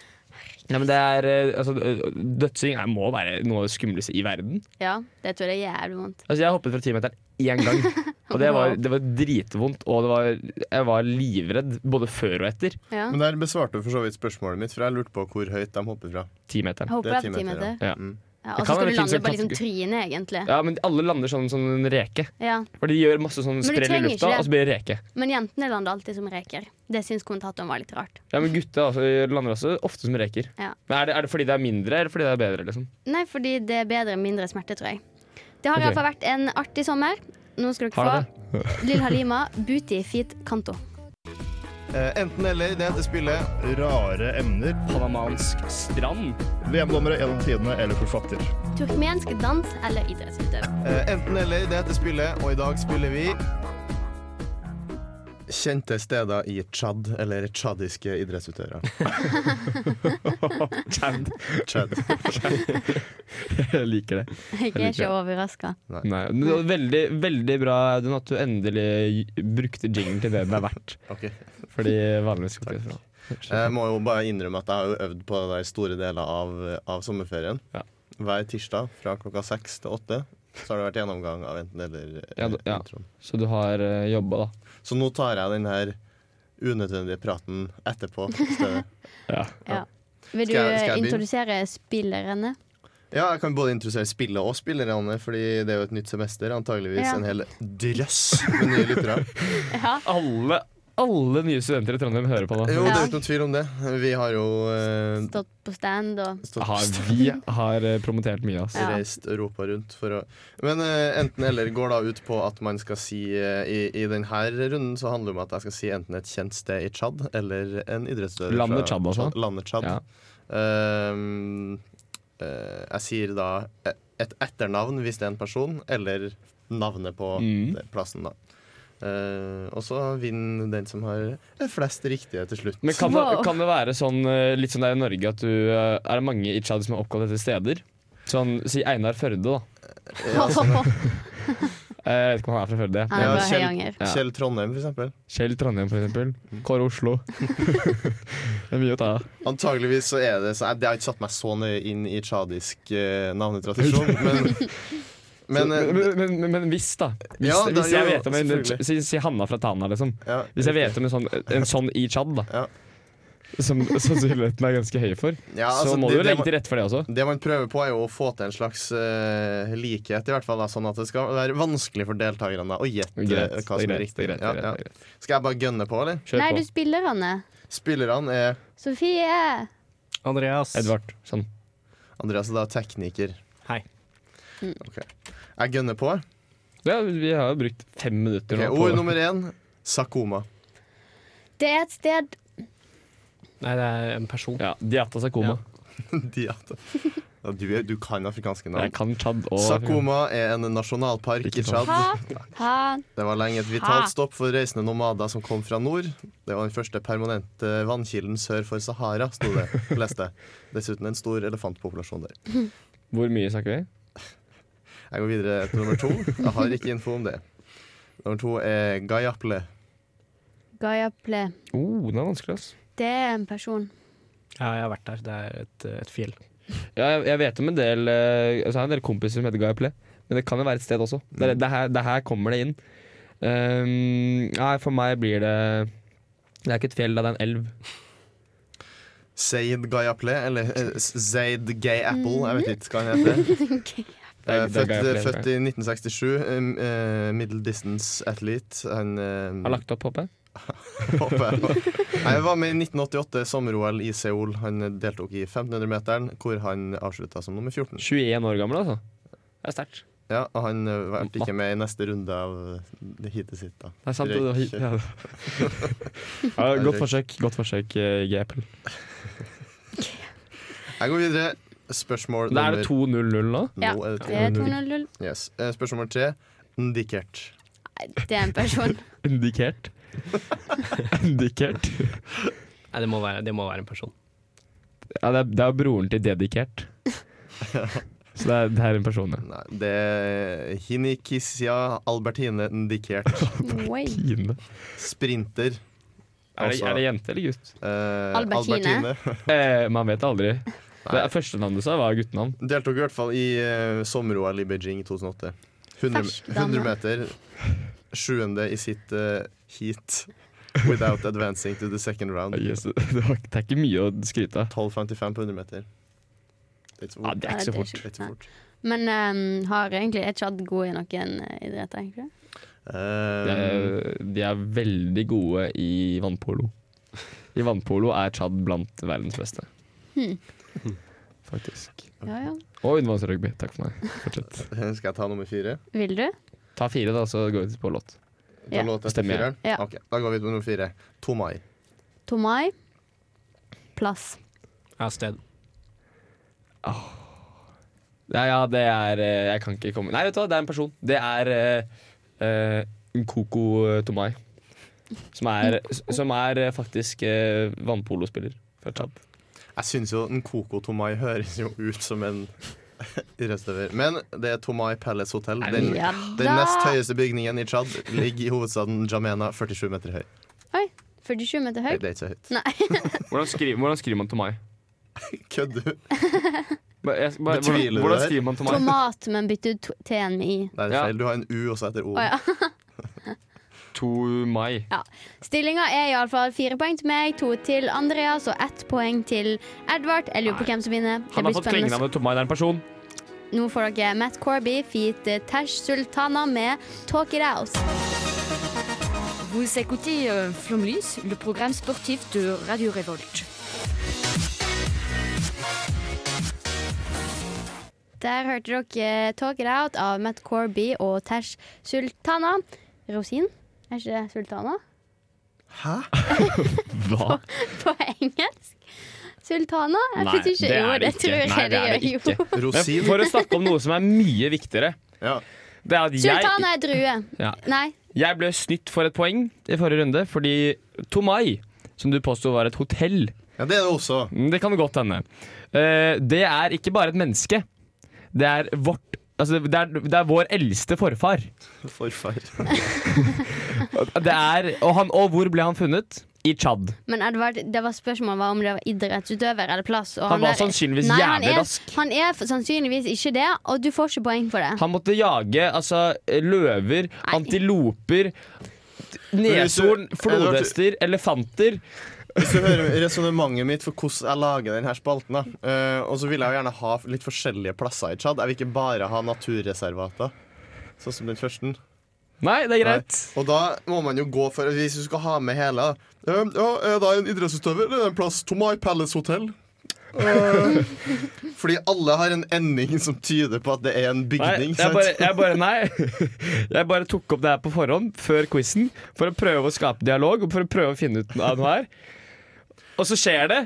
S6: Ja, men det er, eh, altså, eh, dødsing er, må være noe av det skumleste i verden.
S4: Ja, det tror jeg er jævlig vondt.
S6: Altså, jeg hoppet fra timeteren én gang, og det var, det var dritvondt. Og det var, jeg var livredd både før og etter
S4: Ja.
S5: Men der besvarte du for så vidt spørsmålet mitt, for jeg lurte på hvor høyt de hopper fra.
S4: Jeg
S6: timeteren.
S4: håper
S5: Det
S4: det
S5: er
S4: er
S5: ti
S4: ti
S5: meter, ja. Mm.
S4: meter.
S6: Ja.
S4: Ja,
S6: Det
S4: og
S6: kan
S4: så skal
S6: være
S4: du
S6: ting som
S4: lande på
S6: kan-
S4: liksom trynet, egentlig.
S6: ja, men alle lander sånn som en reke.
S4: Ja.
S6: For de gjør masse sånn
S4: du
S6: sprell i
S4: trenger ikke
S6: lufta,
S4: det.
S6: og så blir det reke.
S4: Men jentene lander alltid som reker. Det syns kommentatoren var litt rart.
S6: Ja, men Gutta altså, lander også ofte som reker.
S4: Ja.
S6: Men er det, er det fordi det er mindre, eller fordi det er bedre? liksom?
S4: Nei, fordi det er bedre mindre smerte, tror jeg. Det har i
S6: Ok.
S4: hvert fall vært en artig sommer. Nå skal dere
S6: Har
S4: få Lill Halima, Booty Feet Kanto.
S5: Eh, enten eller, det heter spillet.
S9: Rare emner.
S6: Panamansk strand.
S9: VM-dommere gjennom tidene eller forfatter.
S4: Turkmensk dans eller idrettsutøver.
S5: Eh, enten eller, det heter spillet, og i dag spiller vi Kjente steder i Tsjad, eller tsjadiske idrettsutøvere.
S6: Chad.
S5: Tsjad.
S6: Jeg liker det.
S4: Jeg er ikke overraska.
S6: Nei, men det var veldig, veldig bra Audun, at du endelig brukte jinglen til det den er verdt.
S5: Ok.
S6: Fordi vanligvis går det fra.
S5: Jeg må jo bare innrømme at jeg har jo øvd på det der store deler av, av sommerferien.
S6: Ja.
S5: Hver tirsdag fra klokka seks til åtte så har det vært gjennomgang av enten eller eh,
S6: Ja, da- ja.
S5: introen.
S6: Så du har uh, jobba, da.
S5: Så nå tar jeg den her unødvendige praten etterpå. i stedet.
S6: Ja.
S4: Ja. Vil du
S5: Skal jeg- skal jeg begynne?
S4: introdusere spillerne?
S5: Ja, jeg kan både interessere spillet og spillerne, fordi det er jo et nytt semester. Antageligvis
S4: Ja.
S5: en hel drøss med nye lyttere.
S6: Alle, alle nye studenter i Trondheim hører på nå.
S5: Jo, det
S4: Ja.
S5: er jo ikke noen tvil om det. Vi har jo eh,
S4: Stått på stand og
S5: stått-
S6: Har, vi har eh, promotert mye, altså.
S4: Ja.
S5: reist Europa rundt for å Men eh, enten eller går da ut på at man skal si eh, I, i denne runden så handler det om at jeg skal si enten et kjent sted i Tsjad eller en idrettsutøver
S6: Landet
S5: fra
S6: Tsjad, altså?
S5: Landet Tsjad.
S6: Ja.
S5: Ehm, eh, jeg sier da e- et etternavn hvis det er en person, eller navnet på
S6: Mm.
S5: det- plassen, da. Eh, og så vinner den som har flest riktige til slutt.
S6: Men kan,
S4: Wow.
S6: det, kan det være sånn eh, litt sånn der i Norge at du eh, Er det mange i Tsjad som er oppkalt etter steder? Sånn, Si Einar Førde, da. Eh, Jeg vet ikke om han er fra Førde.
S4: Han er
S5: Ja,
S4: fra
S5: Kjell-
S4: Høyanger.
S6: Ja.
S5: Kjell Trondheim, for eksempel.
S6: Kjell Trondheim, for eksempel. Kåre Oslo. det er mye å ta av.
S5: Antageligvis så er det så Jeg har ikke satt meg så nøye inn i tsjadisk eh, navnetradisjon, men, men, eh,
S6: Men, men, men, men hvis, da. Hvis,
S5: Ja, da-
S6: hvis jeg
S5: jo, jo,
S6: vet om en,
S5: selvfølgelig.
S6: si, si Hanna fra Tana, liksom.
S5: ja,
S6: Hvis jeg vet om en sånn, en sånn i Tsjad, da.
S5: Ja.
S6: Som sannsynligheten er ganske høy for.
S5: ja, altså,
S6: så må
S5: det,
S6: du jo
S5: det,
S6: legge til rette for det også.
S5: man- det man prøver på, er jo å få til en slags eh, likhet, i hvert fall da, sånn at det skal være vanskelig for deltakerne å gjette eh,
S6: Greit,
S5: hva som
S6: det er
S5: er
S6: greit.
S5: riktig.
S6: Det er greit, det
S5: Ja,
S6: er greit,
S5: ja.
S6: det er greit.
S5: Skal jeg bare gønne på, eller?
S6: Kjør
S4: Nei, du
S6: på.
S4: spiller henne.
S5: Spillerne er
S4: Sofie!
S10: Andreas.
S6: Edvard. Sånn.
S5: Andreas er da tekniker. Mm.
S10: Hei.
S5: Ok. Jeg gønner på.
S6: Ja, vi har jo brukt fem minutter
S5: Ok,
S6: nå.
S5: ord
S6: på-
S5: nummer én Sakoma.
S4: Det er et sted
S10: Nei, det er en person.
S6: ja, Diata Sakoma.
S5: Diata. Ja, du, er- du kan afrikanske
S6: Jeg
S5: navn.
S6: kan Tsjad og
S5: Sakoma er en nasjonalpark i
S6: Ikke sant.
S5: Tsjad.
S4: Han
S5: Det var lenge et
S4: Ha!
S5: vitalt stopp for reisende nomader som kom fra nord. Det var den første permanente vannkilden sør for Sahara, sto det. leste jeg. Dessuten en stor elefantpopulasjon der.
S6: Hvor mye snakker vi?
S5: Jeg går videre til nummer to. Jeg har ikke info om det. Nummer to er Gayaple.
S4: Gayaple.
S6: Oh, den er vanskelig, ass.
S4: Det er en person.
S10: Ja, jeg har vært der. Det er et, et fjell.
S6: Ja, jeg, jeg vet om en del eh, altså, Jeg har en del kompiser som heter Guy Play, men det kan jo være et sted også. Det, er-
S5: Mm.
S6: det, her, det her kommer det inn. Ehm, nei, for meg blir det Det er ikke et fjell, da, det er en elv.
S5: Zaid Gayaple, eller eh, Zaid Gay Apple, jeg vet ikke hva han heter.
S6: Det
S5: Eh,
S6: er, det er
S5: Født,
S6: Guy Play,
S5: født
S6: Mm. tror jeg.
S5: i 1967. eh, eh, Middle distance athlete. Han eh,
S6: Har lagt opp, håper jeg.
S5: Håper jeg. Nei, Jeg var med i 1988 sommer-OL i Seoul. Han deltok i 1500-meteren, hvor han avslutta som nummer 14.
S6: 21 år gammel, altså. Det er sterkt.
S5: Ja, og han ble ikke med i neste runde av det heatet sitt, da.
S6: Det er sant. det var-
S5: Røyk.
S6: ja. Ja, godt forsøk, godt forsøk eh, Guy Play.
S5: Jeg går videre. Spørsmål
S6: Da er det
S5: nummer
S6: 2-0-0 nå.
S5: Nå
S4: Ja, Eh,
S5: er det
S4: Det er
S5: to.
S4: 200.
S5: Yes. Eh, Spørsmål nummer tre. Ndikert.
S4: Nei, Det er en person.
S6: Indikert. Indikert.
S10: Nei, det må være, det må være en person.
S6: Ja, det er, det er broren til Dedikert. Så det er, det er en person, ja.
S5: Nei, det er Hinikisia Albertine Ndikert.
S4: Oi.
S6: Tine.
S5: Sprinter.
S6: Er det,
S5: Altså-
S6: er det jente eller gutt?
S5: Eh,
S4: Albertine.
S6: Eh, man vet aldri. Det er Første navnet du sa, var guttenavn.
S5: Deltok i hvert fall i eh, sommer-OL i Beijing i 2008. 100,
S4: Fersk dame.
S5: 100 meter. Sjuende i sitt eh, heat without advancing to the second round.
S6: Ah, Yes, det, var, det er ikke mye å skryte av.
S5: 12,55 på 100 meter. Litt for
S6: Ja,
S5: fort.
S6: det er ikke så
S4: Nei,
S6: fort.
S4: det er
S5: Litt for fort.
S4: Men ehm, har egentlig er ikke Tsjad god i noen eh, idretter, egentlig?
S6: De
S5: Eh,
S6: er, de er veldig gode i vannpolo. I vannpolo er Tsjad blant verdens beste. Faktisk.
S4: Ja, ja.
S6: Og undervannsrugby. Takk for meg. Fortsett.
S5: skal jeg ta nummer fire?
S4: Vil du?
S6: Ta fire, da, så går vi på låt.
S5: Ta
S4: Ja.
S5: låt etter
S6: Stemmer jeg?
S5: fireren?
S4: Ja.
S5: Ok, da går vi til nummer fire. Tomai.
S4: Tomai. Plass.
S10: Ja, sted.
S6: Nei, ja, det er eh, Jeg kan ikke komme Nei, vet du hva, det er en person. Det er eh, eh, Nkoko eh, Tomai. Som er, som er eh, faktisk eh, vannpolospiller fra Tsjad.
S5: Jeg syns jo Nkoko Tomai høres jo ut som en idrettsutøver. Men det er Tomai Palace Hotel. Den,
S4: Ja
S5: den nest
S4: da!
S5: høyeste bygningen i Tsjad ligger i hovedstaden Jamena, 47 meter høy.
S4: Oi. 47 meter høy.
S5: Det er ikke så høyt.
S6: Hvordan, skri, hvordan skriver man Tomai?
S5: Kødder du?
S6: Ba- jeg- ba-
S5: Betviler du det
S6: hvordan, hvordan
S5: her?
S6: skriver man Tomai?
S4: Tomat, men bytte ut to- T-en med I.
S5: Det er
S6: Ja.
S5: feil. Du har en U også etter O.
S4: Å, ja.
S6: Tomai.
S4: Stillinga er iallfall fire poeng til meg, to til Andreas og ett poeng til Edvard. Jeg lurer på hvem som vinner. Det
S6: Han har
S4: blir
S6: fått
S4: spennende.
S6: klengenavnet Tomai. Det er en person.
S4: Nå får dere Matt Corby feat Tash Sultana med Talk It Out.
S11: Vous écoutez euh, Flomlys, le programme sportif de Radio Révolte.
S4: Der hørte dere Talk It Out av Matt Corby og Tash Sultana. Rosin, er ikke det Sultana?
S6: Hva?
S4: På engelsk? Sultana? Jeg synes ikke. jo, det, tror jeg
S6: Nei, det er det
S4: dere gjør.
S6: ikke. Men
S5: Rosin.
S6: for å snakke om noe som er mye viktigere.
S5: Ja.
S6: Det er at jeg,
S4: Sultana er drue.
S6: Ja.
S4: Nei,
S6: jeg ble snytt for et poeng i forrige runde, fordi Tomai, som du påsto var et hotell
S5: ja, det er det også.
S6: Mm, Det kan godt hende. Eh, det er ikke bare et menneske. Det er vårt Altså, det er, det er vår eldste forfar.
S5: Forfar.
S6: Det er, og, han, og hvor ble han funnet? I Tsjad.
S4: men Edvard, det var spørsmålet var om det var idrettsutøver eller plass. og
S6: Han var
S4: der-
S6: sannsynligvis
S4: Nei, han
S6: jævlig
S4: er-
S6: rask.
S4: Han er f- sannsynligvis ikke det, og du får ikke poeng for det.
S6: Han måtte jage altså, løver, antiloper, neshorn, flodhester, elefanter.
S5: Hvis du hører resonnementet mitt for hvordan jeg lager denne spalten, da. Eh, og så vil jeg jo gjerne ha litt forskjellige plasser i Tsjad. Jeg vil ikke bare ha naturreservater, sånn som den første.
S6: Nei, det er greit.
S5: Nei. Og da må man jo gå for Hvis du skal ha med hele da. Eh, Ja, er det en idrettsutøver eller en plass? Tomai Palace Hotel. Eh, fordi alle har en ending som tyder på at det er en bygning.
S6: Nei, jeg
S5: sant?
S6: bare, jeg bare, nei. Jeg bare tok opp det her på forhånd, før quizen, for å prøve å skape dialog og for å prøve å finne ut av noe her. Og så skjer det,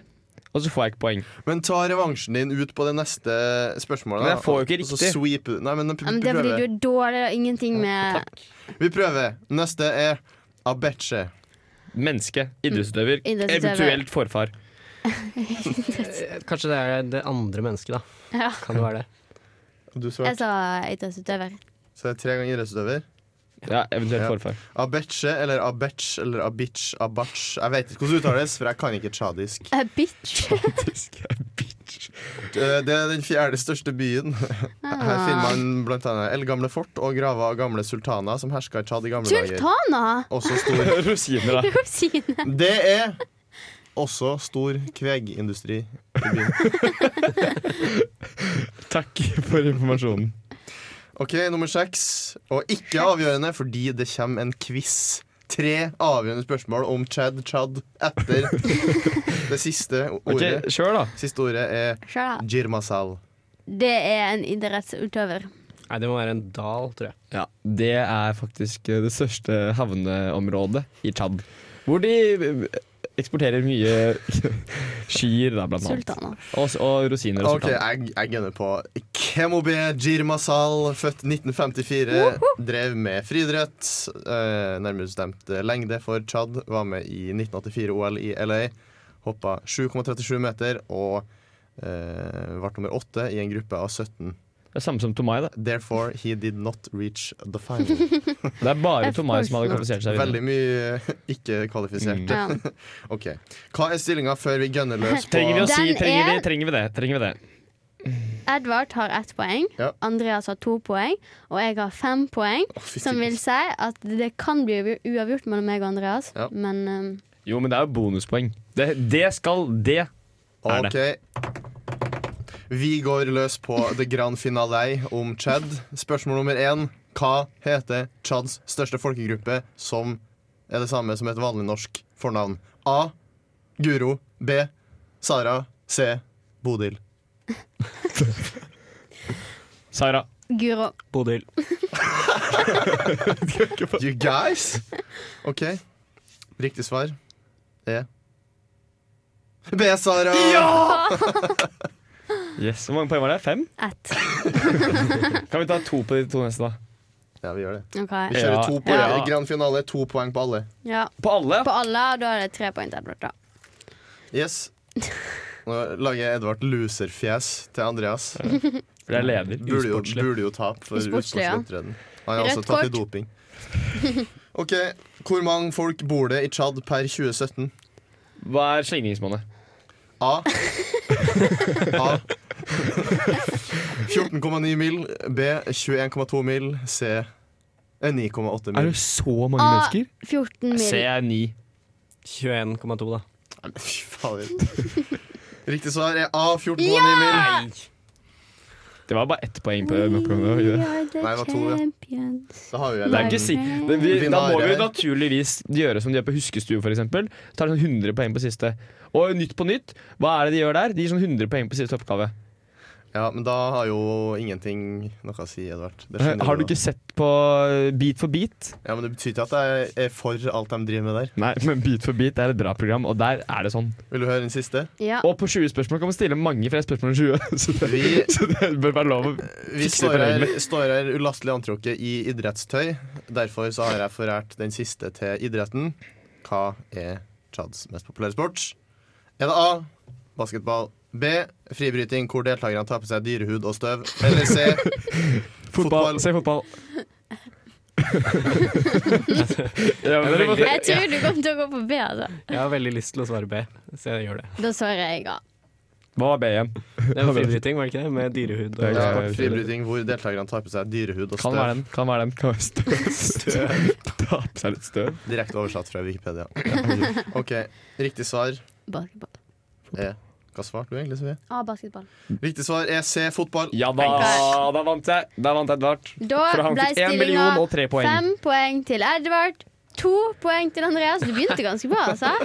S6: og så får jeg ikke poeng.
S5: Men ta revansjen din ut på det neste spørsmålet.
S6: Men
S5: da,
S6: jeg får jo ikke
S5: og så
S6: riktig.
S5: sweep- Nei, men pr
S4: Men det er fordi du
S5: prøver.
S4: er dårlig og ingenting med
S5: Vi prøver. Neste er Abeche.
S6: Menneske, idrettsutøver,
S4: Idrettsutøver.
S6: eventuelt forfar.
S10: Eh, Kanskje det er det andre mennesket, da.
S4: Ja.
S10: Kan det være det?
S5: Du
S4: Jeg
S5: svarte.
S4: sa idrettsutøver.
S5: Så det er tre ganger idrettsutøver.
S6: Ja, eventuelt
S5: Ja.
S6: forfar.
S5: Abeche eller Abetch eller Abitch Abach. Jeg vet ikke hvordan det uttales, for jeg kan ikke tsjadisk.
S4: A bitch.
S5: Eh, Det er den fjerde største byen. Her finner man blant annet eldgamle fort og graver av gamle sultaner som herska i Tsjad i gamle dager.
S4: Sultana!
S5: Også stor.
S6: Rosiner, da.
S4: Rosine.
S5: Det er også stor kvegindustri i byen.
S6: Takk for informasjonen.
S5: OK, nummer seks. Og ikke avgjørende fordi det kommer en quiz. Tre avgjørende spørsmål om Tsjad, Tsjad etter det siste
S6: Ok,
S5: ordet.
S6: Kjør, da.
S5: Siste ordet er
S4: Shut up.
S5: Jirmasal.
S4: Det er en idrettsutøver.
S10: Nei, det må være en dal, tror jeg.
S6: Ja, Det er faktisk eh, det største havneområdet i Tsjad. Hvor de eh, eksporterer mye skyer, da, blant annet.
S4: Sultana.
S6: Og, s- og rosiner og
S5: Ok,
S6: sultan.
S5: jeg, jeg gunner på Kemobe Jirmasal, født 1954. Drev med friidrett. Eh, nærmere bestemt eh, lengde for Tsjad. Var med i 1984-OL i LA. Hoppa 7,37 meter og eh, ble nummer åtte i en gruppe av 17
S6: Det er samme som Tomai, det.
S5: Therefore he did not reach the final.
S6: Det er bare
S4: Of Tomai som hadde course
S6: kvalifisert seg videre.
S5: Veldig mye ikke-kvalifiserte.
S4: Mm.
S5: OK. Hva er stillinga før vi gønner løs på
S6: Trenger vi å
S4: Den
S6: si trenger vi,
S4: er-
S6: trenger vi det? Trenger vi det?
S4: Edvard har ett poeng,
S5: Ja.
S4: Andreas har to poeng, og jeg har fem poeng.
S5: fy
S4: som
S5: søren.
S4: vil si at det kan bli uavgjort mellom meg og Andreas,
S5: Ja.
S4: men um,
S6: Jo, men det er jo bonuspoeng. Det, det skal det. Er
S5: OK. Vi går løs på the grand finale om Chad. Spørsmål nummer én. Hva heter Chads største folkegruppe som er det samme som et vanlig norsk fornavn? A. Guro. B. Sara. C. Bodil.
S6: Sara.
S4: Guro.
S10: Bodil.
S5: You guys? OK. Riktig svar er B, Sara.
S6: Yes, Hvor mange poeng var det? Fem?
S4: Ett.
S6: Kan vi ta to på de to neste, da?
S5: Ja, vi gjør det.
S4: OK.
S5: Vi kjører
S6: Ja,
S5: to poeng.
S6: ja.
S5: Grand finale, to poeng på alle.
S4: Ja.
S6: På alle?
S4: På alle, og da er det tre poeng til Edvard, da.
S5: Yes. Nå lager Edvard loserfjes til Andreas.
S6: For jeg er leder.
S5: Burde jo,
S6: Usportslig.
S5: burde jo tape for
S4: Usportslig,
S5: usportslig
S4: ja.
S5: opptreden. Han har også
S4: Rødt
S5: tatt i
S4: kort.
S5: doping. OK, hvor mange folk bor det i Tsjad per 2017?
S6: Hva er slingringsmåned?
S5: A. A. 14,9 mil. B. 21,2 mil. C. eh, 9,8 mil.
S6: så mange
S4: Ah, 14 mil.
S6: Se, jeg er ni.
S10: 21,2, da.
S5: Nei, men Fy fader. Riktig svar er A. 14,9 mil.
S6: Det var bare ett poeng på
S4: We
S6: Macron.
S4: are the
S5: Nei, det var to, ja.
S4: champions.
S5: Da har jo jeg
S6: Det er ikke si det, vi, Da må vi jo naturligvis gjøre som de gjør på Huskestue, f.eks. Tar sånn 100 poeng på siste. Og Nytt på nytt, hva er det de gjør der? De gir sånn 100 poeng på siste oppgave.
S5: Ja, men da har jo ingenting noe å si, Edvard. Det skjønner
S6: Eh, Har du
S5: jo.
S6: ikke sett på Beat for beat?
S5: Ja, men Det betyr ikke at jeg er for alt de driver med der.
S6: Nei, men Beat for beat er et bra program, og der er det sånn.
S5: Vil du høre den siste?
S4: Ja.
S6: Og på 20 spørsmål kan man stille mange flere spørsmål enn 20, så det,
S5: Vi-
S6: så det bør være lov å
S5: Vi
S6: fikse
S5: står
S6: på
S5: her,
S6: reglene.
S5: står her ulastelig antrukket i idrettstøy. Derfor så har jeg forært den siste til idretten. Hva er Tsjads mest populære sport? Er det A. Basketball. B. Fribryting, hvor deltakerne tar på seg dyrehud og støv. Eller C.
S6: Fotball.
S5: Fotball.
S6: Se fotball. ja, men dere må-
S4: Jeg tror du kommer til å gå på B, altså.
S10: Jeg har veldig lyst til å svare B, så jeg gjør det.
S4: Da svarer jeg A.
S6: Hva var B igjen?
S10: Det var fribryting, var det ikke det? Med dyrehud og
S5: Ja,
S6: jeg-
S5: fribryting, hvor deltakerne tar på seg dyrehud og
S6: Kan være
S5: støv.
S6: den. Kan være den. Kan være støv. støv. Ta på seg litt støv.
S5: Direkte oversatt fra Wikipedia. Ja. OK. Riktig svar
S4: Basketball.
S5: er Hva svarte du egentlig, Sofie?
S4: A, basketball.
S5: Riktig svar er C. Fotball.
S6: Ja da, da vant jeg. Da vant Edvard.
S4: Da
S6: For han
S4: ble
S6: fikk én million
S4: stillinga
S6: og tre poeng.
S4: fem poeng til Edvard, to poeng til Andreas. Du begynte ganske bra, altså.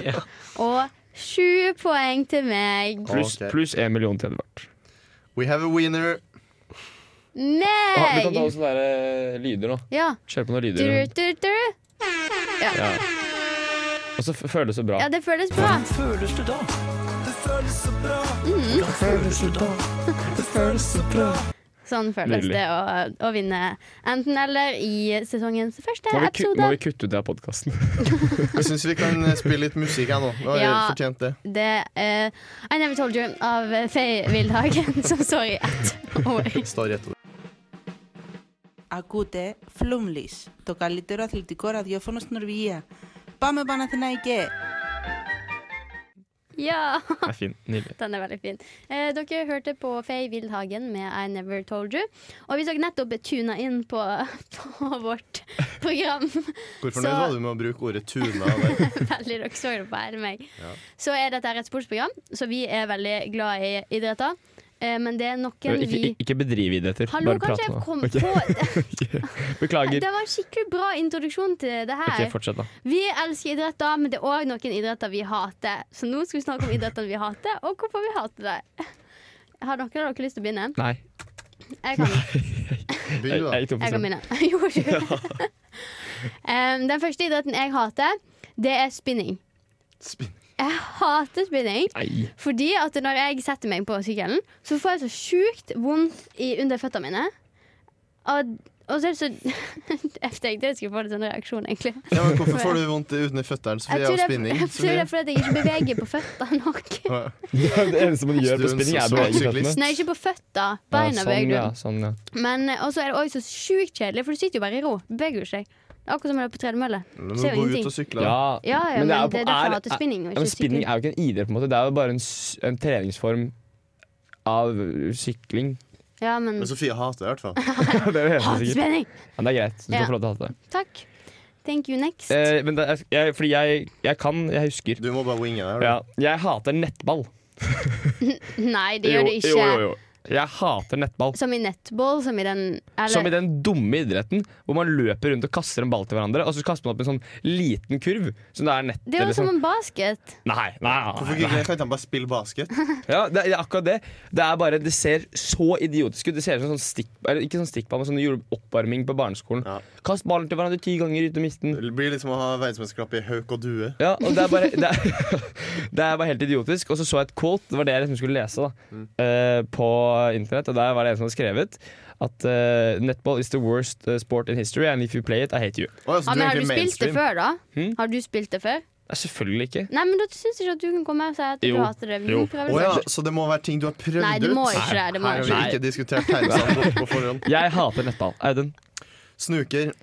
S4: Og sju poeng til meg.
S6: Pluss
S5: Ok.
S6: plus én million til Edvard.
S5: We have a winner.
S6: Vi kan ta
S4: Meg!
S6: sånne der, eh, lyder nå.
S4: Ja.
S6: Kjør på noen
S4: Du,
S6: lyder.
S4: du, du.
S6: Ja. Og så f- føles det bra.
S4: ja, det føles bra. Mhm. Sånn føles
S6: Nydelig.
S4: det å, å vinne enten eller i sesongens første
S6: Må vi, ku- må
S4: episode.
S6: vi kutte ut det av podkasten?
S5: Jeg syns vi kan eh, spille litt musikk her nå. Nå har jeg
S4: Ja.
S5: fortjent det.
S4: Det er I Never Told You av Faye Wildhagen, som står i ett ord.
S5: Står rett ord.
S12: Ακούτε Flumlis, το καλύτερο αθλητικό ραδιόφωνο στην Ορβηγία. Πάμε Παναθηναϊκέ!
S4: Ja,
S6: Det er fin. Nydelig.
S4: den er veldig fin. Eh, dere hørte på Faye Wildhagen med I Never Told You. Og vi så nettopp tuna inn på, på vårt program.
S5: Hvor
S4: Så-
S5: fornøyd var du med å bruke ordet tuna? Der?
S4: veldig dere så det på hele meg. Så er dette her et sportsprogram, så vi er veldig glad i idretter. Eh, men det er noen
S6: Ikke,
S4: vi
S6: ikke- ikke bedriv idretter.
S4: Hallo,
S6: Bare
S4: kanskje
S6: prat
S4: jeg
S6: nå.
S4: kom
S6: Ok.
S4: på
S6: Beklager.
S4: Det var en skikkelig bra introduksjon til det her.
S6: Ok, fortsett, da.
S4: Vi elsker idretter, men det er òg noen idretter vi hater. Så nå skal vi snakke om idrettene vi hater, og hvorfor vi hater dem. Har noen av dere lyst til å begynne?
S6: Nei.
S4: Jeg kan,
S5: Begynn,
S6: Jeg,
S5: du,
S6: jeg
S5: da.
S6: gikk tom
S4: jeg kan
S6: for strøm.
S4: begynne. Gjorde du det? Em, Den første idretten jeg hater, det er spinning.
S5: Spinn.
S4: Jeg hater spinning.
S6: Nei.
S4: Fordi at når jeg setter meg på sykkelen, så får jeg så sjukt vondt i under føttene mine. Og, Og så er det så Jeg tenkte jeg skulle få litt sånn reaksjon, egentlig.
S5: Ja, men hvorfor får du vondt uten i føttene? Så
S4: Jeg
S5: blir
S4: tror
S5: jeg
S4: det
S5: av
S4: er-
S5: spinning.
S4: jeg tror det er fordi jeg ikke beveger på føttene nok.
S6: det eneste man gjør på
S5: Stuen
S6: spinning, er å
S5: som
S6: bevege
S5: syklist.
S6: føttene.
S4: Nei, ikke på føttene. Beina
S6: ja,
S4: beveger
S6: sånn,
S4: du.
S6: ja, sånn, ja.
S4: Men eh, også er det også så sjukt kjedelig, for du sitter jo bare i ro. Du Beveger jo ikke deg. Det er Akkurat som å være på tredemølle.
S6: Men
S4: Ser jo ingenting.
S6: Ja,
S4: Ja, ja, men, det er,
S6: jo på-
S4: derfor jeg
S6: er-
S4: hater spinning. Og
S6: ja, men
S4: ikke
S6: spinning
S4: sykling.
S6: er jo ikke en idrett, på en måte. Det er jo bare en, s- en treningsform av sykling.
S4: Ja, men
S5: Sofie hater det i hvert fall.
S6: det er jo helt
S4: Hater
S6: sikkert.
S4: spinning!
S6: Ja, det er greit. Du
S4: Ah, Ja.
S6: kan få lov til å hate det.
S4: Takk. Thank you next.
S6: Eh, men det er, jeg, fordi jeg, jeg kan, jeg husker.
S5: Du må bare winge der.
S6: Ja, jeg hater nettball.
S4: Nei, det gjør det
S6: Jo,
S4: ikke.
S6: Jo, jo, jo. Jeg hater nettball.
S4: Som i nettball, som i den eller,
S6: Som i den dumme idretten hvor man løper rundt og kaster en ball til hverandre, og så kaster man opp en sånn liten kurv. Som det er nett
S4: Det er jo
S6: eller
S4: som
S6: sånn.
S4: en basket.
S6: Nei, nei,
S5: Hvorfor
S6: nei,
S5: ikke-
S6: nei.
S5: kan ikke han bare spille basket?
S6: Ja, det, er- det er akkurat det. Det er bare, det ser så idiotisk ut. Det ser ut som sånn stikk, eller ikke sånn stikkball, men sånn du gjorde oppvarming på barneskolen. Kast ballen til hverandre ti ganger uten å miste den.
S5: Det blir litt som å ha verdensmesterskap i hauk og due.
S6: Ja, og det er bare, det er, det er bare helt idiotisk. Og så så jeg et quote, det var det jeg liksom skulle lese da,
S5: Mm.
S6: eh, på internett. Og der var det en som hadde skrevet at eh, netball is the worst eh, sport in history, and if you play it, I hate you.
S4: Ja, men har du spilt det før, da?
S6: Hmm?
S4: Har du spilt det før?
S6: Nei, selvfølgelig ikke.
S4: Nei, men da syns jeg ikke at du kan komme og si at du hater det. Vi
S5: Jo.
S4: kan prøve
S5: Å ja,
S4: det.
S5: så det må være ting du har prøvd
S4: Nei,
S5: ut?
S4: det må ikke det, det må
S5: Her har
S4: ikke
S5: vi
S4: det.
S5: ikke diskutert tegnesand på forhånd.
S6: Jeg hater nettball. Audun?
S5: Snuker.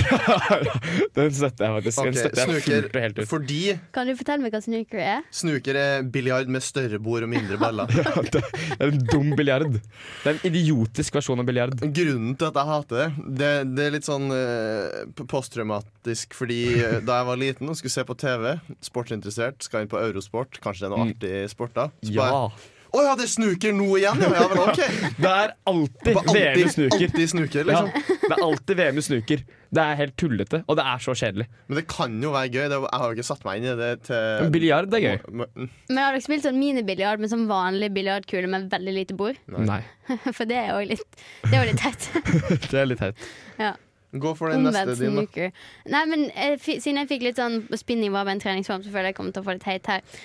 S6: Den støtter jeg faktisk.
S5: Ok,
S6: Den støtter jeg
S5: snuker,
S6: fullt og helt ut.
S5: Fordi
S4: Kan du fortelle meg hva snooker er?
S5: snuker er biljard med større bord og mindre baller.
S6: Det er en dum biljard. Det er en idiotisk versjon av biljard.
S5: Grunnen til at jeg hater det, det, det er litt sånn eh, p- posttraumatisk. Fordi eh, da jeg var liten og skulle se på TV, sportsinteressert, skal inn på Eurosport, kanskje det er noe
S6: Mm.
S5: artig sport da. Så
S6: Ja.
S5: bare, Å ja, det er snuker nå igjen, ja! ja vel, ok.
S6: Det er alltid
S5: Bare alltid-
S6: VM i snuker.
S5: alltid snuker, liksom.
S6: Ja, det er alltid VM i snuker. Det er helt tullete, og det er så kjedelig.
S5: Men det kan jo være gøy. Det, jeg har jo ikke satt meg inn i det til mm.
S6: Men biljard er gøy.
S4: Men har dere spilt sånn minibiljard med sånn vanlig biljardkule med veldig lite bord?
S6: Nei.
S4: For det er jo litt, det er jo litt teit.
S6: Det er litt teit.
S4: Ja.
S5: Gå for den neste
S4: Omvendt
S5: din, da.
S4: snooker. Nei, men eh, fi- siden jeg fikk litt sånn spinning var med en treningsform, så føler jeg jeg kommer til å få litt heit her.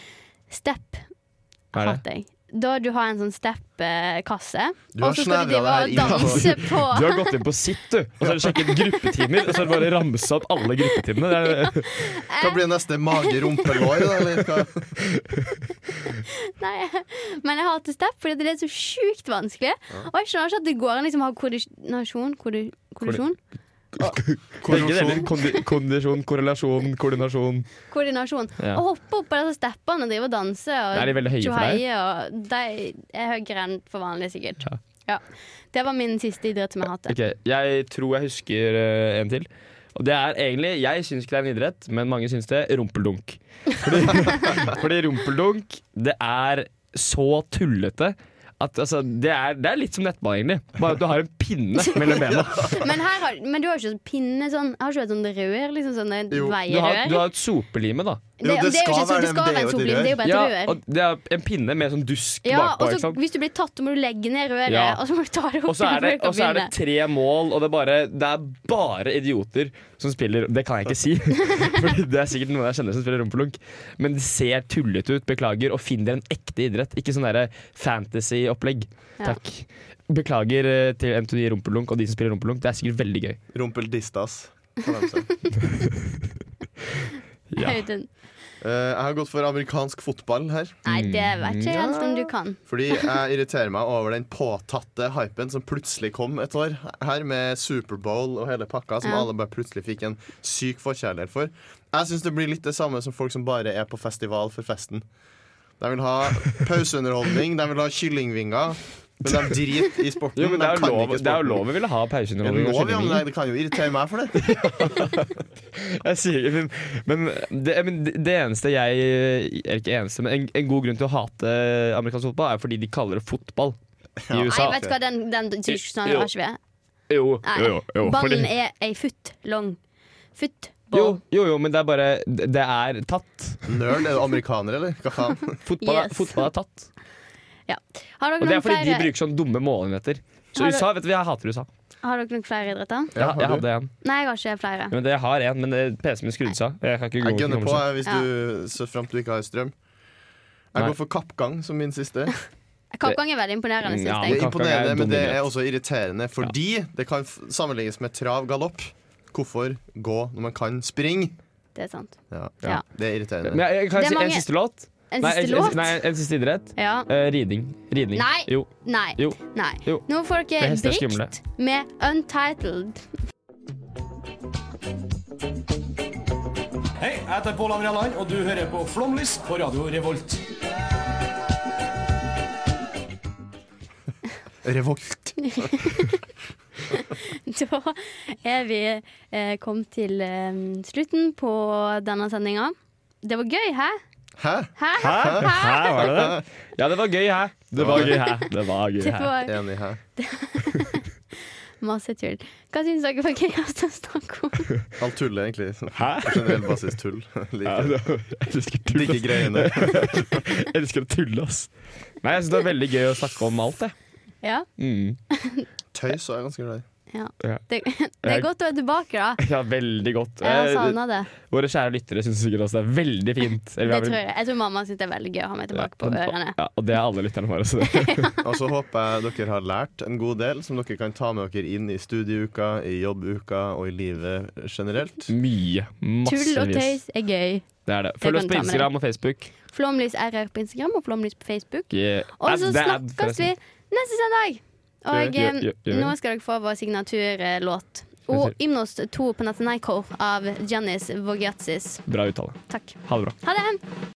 S4: Step
S6: Hva er det?
S4: hater jeg. Da du har en sånn step-kasse,
S6: Du har
S4: og så skal du
S6: snevra
S4: drive
S6: deg
S4: og
S6: inn på-
S4: danse på
S6: Du har gått inn på sitt, du. Og så har du sjekket gruppetimer, og så har du bare ramsa opp alle gruppetimene. Det er,
S5: Hva blir neste mage-rumpe-lår? da, eller hva?
S4: Nei, men jeg hater step fordi det er så sjukt vanskelig. Og jeg skjønner ikke at det går an liksom, å ha koordinasjon Koordi- Koordinasjon?
S6: Begge deler. Kondi- Kondisjon, korrelasjon, koordinasjon.
S4: Koordinasjon.
S6: Ja.
S4: Å hoppe opp på disse steppene og drive og danse og
S6: Er de veldig høye for deg?
S4: tjoheie, og De er høyere enn for vanlig, sikkert. Ja. Det var min siste idrett som jeg hater.
S6: Ok, Jeg tror jeg husker eh, en til. Og det er egentlig, Jeg syns ikke det er en idrett, men mange syns det. Rumpeldunk. Fordi, fordi rumpeldunk, det er så tullete at altså, det, er, det er litt som nettball, egentlig. Bare at du har en pinne mellom bena.
S4: Men, her har, men du har ikke sånn pinne sånn Har ikke du et sånt rør? Liksom sånne
S6: Du har,
S4: veierør?
S6: du har et sopelime, da.
S4: Det- Jo, det det er jo ikke skal så- det være- skal det er være jo et et sopelime, det er jo bare et
S6: ja,
S4: rør.
S6: og det er en pinne med sånn dusk
S4: Ja,
S6: bakpå.
S4: og
S6: ikke
S4: så
S6: sant?
S4: hvis du blir tatt, så må du legge ned røret,
S6: Ja.
S4: og så må du ta det opp
S6: Og så er det,
S4: igjen for å
S6: og så er det
S4: begynne.
S6: tre mål, og det er, bare, det er bare idioter som spiller Det kan jeg ikke si, for det er sikkert noen jeg kjenner som spiller rumpelunk. Men det ser tullete ut, beklager, og finn dere en ekte idrett. Ikke sånn derre fantasy-opplegg.
S4: Ja.
S6: Takk. Beklager eh, til en til de rumpelunk og de som spiller rumpelunk. Det er sikkert veldig gøy.
S5: Rumpeldistas. for dem som-
S6: Ja.
S4: Audun.
S5: Eh, jeg har gått for amerikansk fotball her.
S4: Nei, det
S6: Mm,
S4: vet ikke jeg helt om du kan.
S5: Fordi jeg irriterer meg over den påtatte hypen som plutselig kom et år her, med Superbowl og hele pakka, som
S4: Ja.
S5: alle bare plutselig fikk en syk forkjærlighet for. Jeg syns det blir litt det samme som folk som bare er på festival for festen. De vil ha pauseunderholdning, de vil ha kyllingvinger, men de driter i sporten.
S6: Jo, men det
S5: de
S6: er jo
S5: kan
S6: lov,
S5: ikke
S6: det er jo
S5: sporten.
S6: lov vi ville ha
S5: Er
S6: pauseunderholdning.
S5: det
S6: og
S5: lov, ja, men det-
S6: kjenning.
S5: det kan jo irritere meg for det.
S6: Jeg sier, men men, det, men det eneste jeg Eller ikke eneste, men en, en god grunn til å hate amerikansk fotball, er fordi de kaller det fotball i USA.
S4: Nei, vet du hva, den, den diskusjonen
S6: Jo.
S4: har ikke vi.
S6: Jo,
S4: Nei,
S6: jo, jo, jo,
S4: Ballen
S6: fordi-
S4: er ei foot long. Foot.
S6: jo, jo, jo, men det er bare Det er tatt.
S5: Nerd, er du amerikaner, eller? Hva faen?
S6: Fotball, er-
S4: Yes.
S6: fotball er tatt.
S4: Ja. Har
S6: Og
S4: dere
S6: det er
S4: noen
S6: fordi de
S4: flere,
S6: bruker sånn dumme målenheter. Så
S4: Har du-
S6: USA, vet du, jeg hater USA.
S4: har dere noen flere idretter?
S6: Jeg, jeg hadde en.
S4: Nei, jeg har ikke flere.
S6: Ja, men det, jeg har en, men det- PC-en min skrudde seg av. Jeg kan ikke gå
S5: Jeg gønner på jeg, hvis
S4: Ja.
S5: du, så fremt du ikke har strøm. Jeg
S6: Nei.
S5: går for kappgang som min siste.
S4: Kappgang er veldig imponerende, syns
S5: Ja,
S4: jeg.
S5: det er imponerende, men det er også irriterende, fordi det kan f- sammenlignes med trav galopp. Hvorfor gå når man kan springe?
S4: Det er sant.
S5: Ja.
S4: Ja.
S5: Det er irriterende.
S6: Men jeg, jeg,
S4: Det
S6: kan
S4: er
S6: jeg si
S4: mange-
S6: en siste låt?
S4: En
S6: nei,
S4: siste låt?
S6: Nei, en siste idrett.
S4: Ja.
S6: Eh, riding. Ridning.
S4: Nei.
S6: Jo.
S4: Nei.
S6: Jo.
S4: Nei.
S6: Jo.
S4: Nå får
S6: Det
S4: dere
S6: hester er skumle.
S4: Brikt med Untitled.
S13: Hei, jeg heter Pål André Land, og du hører på Flomlys på Radio Revolt.
S5: Revolt.
S4: da er vi eh, kommet til eh, slutten på denne sendinga. Det var gøy, hæ?
S5: Hæ?
S4: Hæ?
S6: Hæ? Hæ, var det det? Ja, det var gøy, hæ? Det var gøy, hæ? Det var gøy,
S4: Det var-
S6: hæ?
S5: Enig, hæ?
S4: Masse tull. Hva syns dere var gøyest å snakke om?
S5: Alt tull, egentlig. Hæ? Generell basis tull. Liker det.
S6: Jeg elsker tull.
S5: Like greiene.
S6: Jeg elsker å tulle, ass. Nei, jeg syns det er veldig gøy å snakke om alt, jeg.
S4: Ja.
S5: Tøys er jeg ganske glad i.
S4: ja.
S6: Ja.
S4: Det, det er godt å være tilbake, da.
S6: Ja, veldig godt.
S4: Jeg har
S6: Eh,
S4: savna det.
S6: Våre kjære lyttere syns sikkert også det er veldig fint.
S4: Det tror jeg. jeg tror mamma syns det er veldig gøy å ha meg tilbake på ørene.
S6: Ja, og det er alle lytterne våre. Så det.
S5: Og så håper jeg dere har lært en god del som dere kan ta med dere inn i studieuka, i jobbuka og i livet generelt.
S6: Mye.
S4: Tull og tøys er gøy.
S6: Det er det.
S4: Det
S6: Følg
S4: kan du ta
S6: oss på
S4: med
S6: Instagram og Facebook.
S4: Flomlys RR på Instagram og Flomlys på Facebook.
S6: Yeah.
S4: Og
S6: Ad-
S4: så
S6: det er ad,
S4: snakkes vi
S6: forresten.
S4: neste søndag. Og
S6: Gjør- gjør-
S4: eh,
S6: gjør vi.
S4: nå skal dere få vår signaturlåt. Og Ymnos 2 på Nathanaiko av Janis Vogiatsis.
S6: Bra uttale.
S4: Takk.
S6: Ha det bra.
S4: Ha det!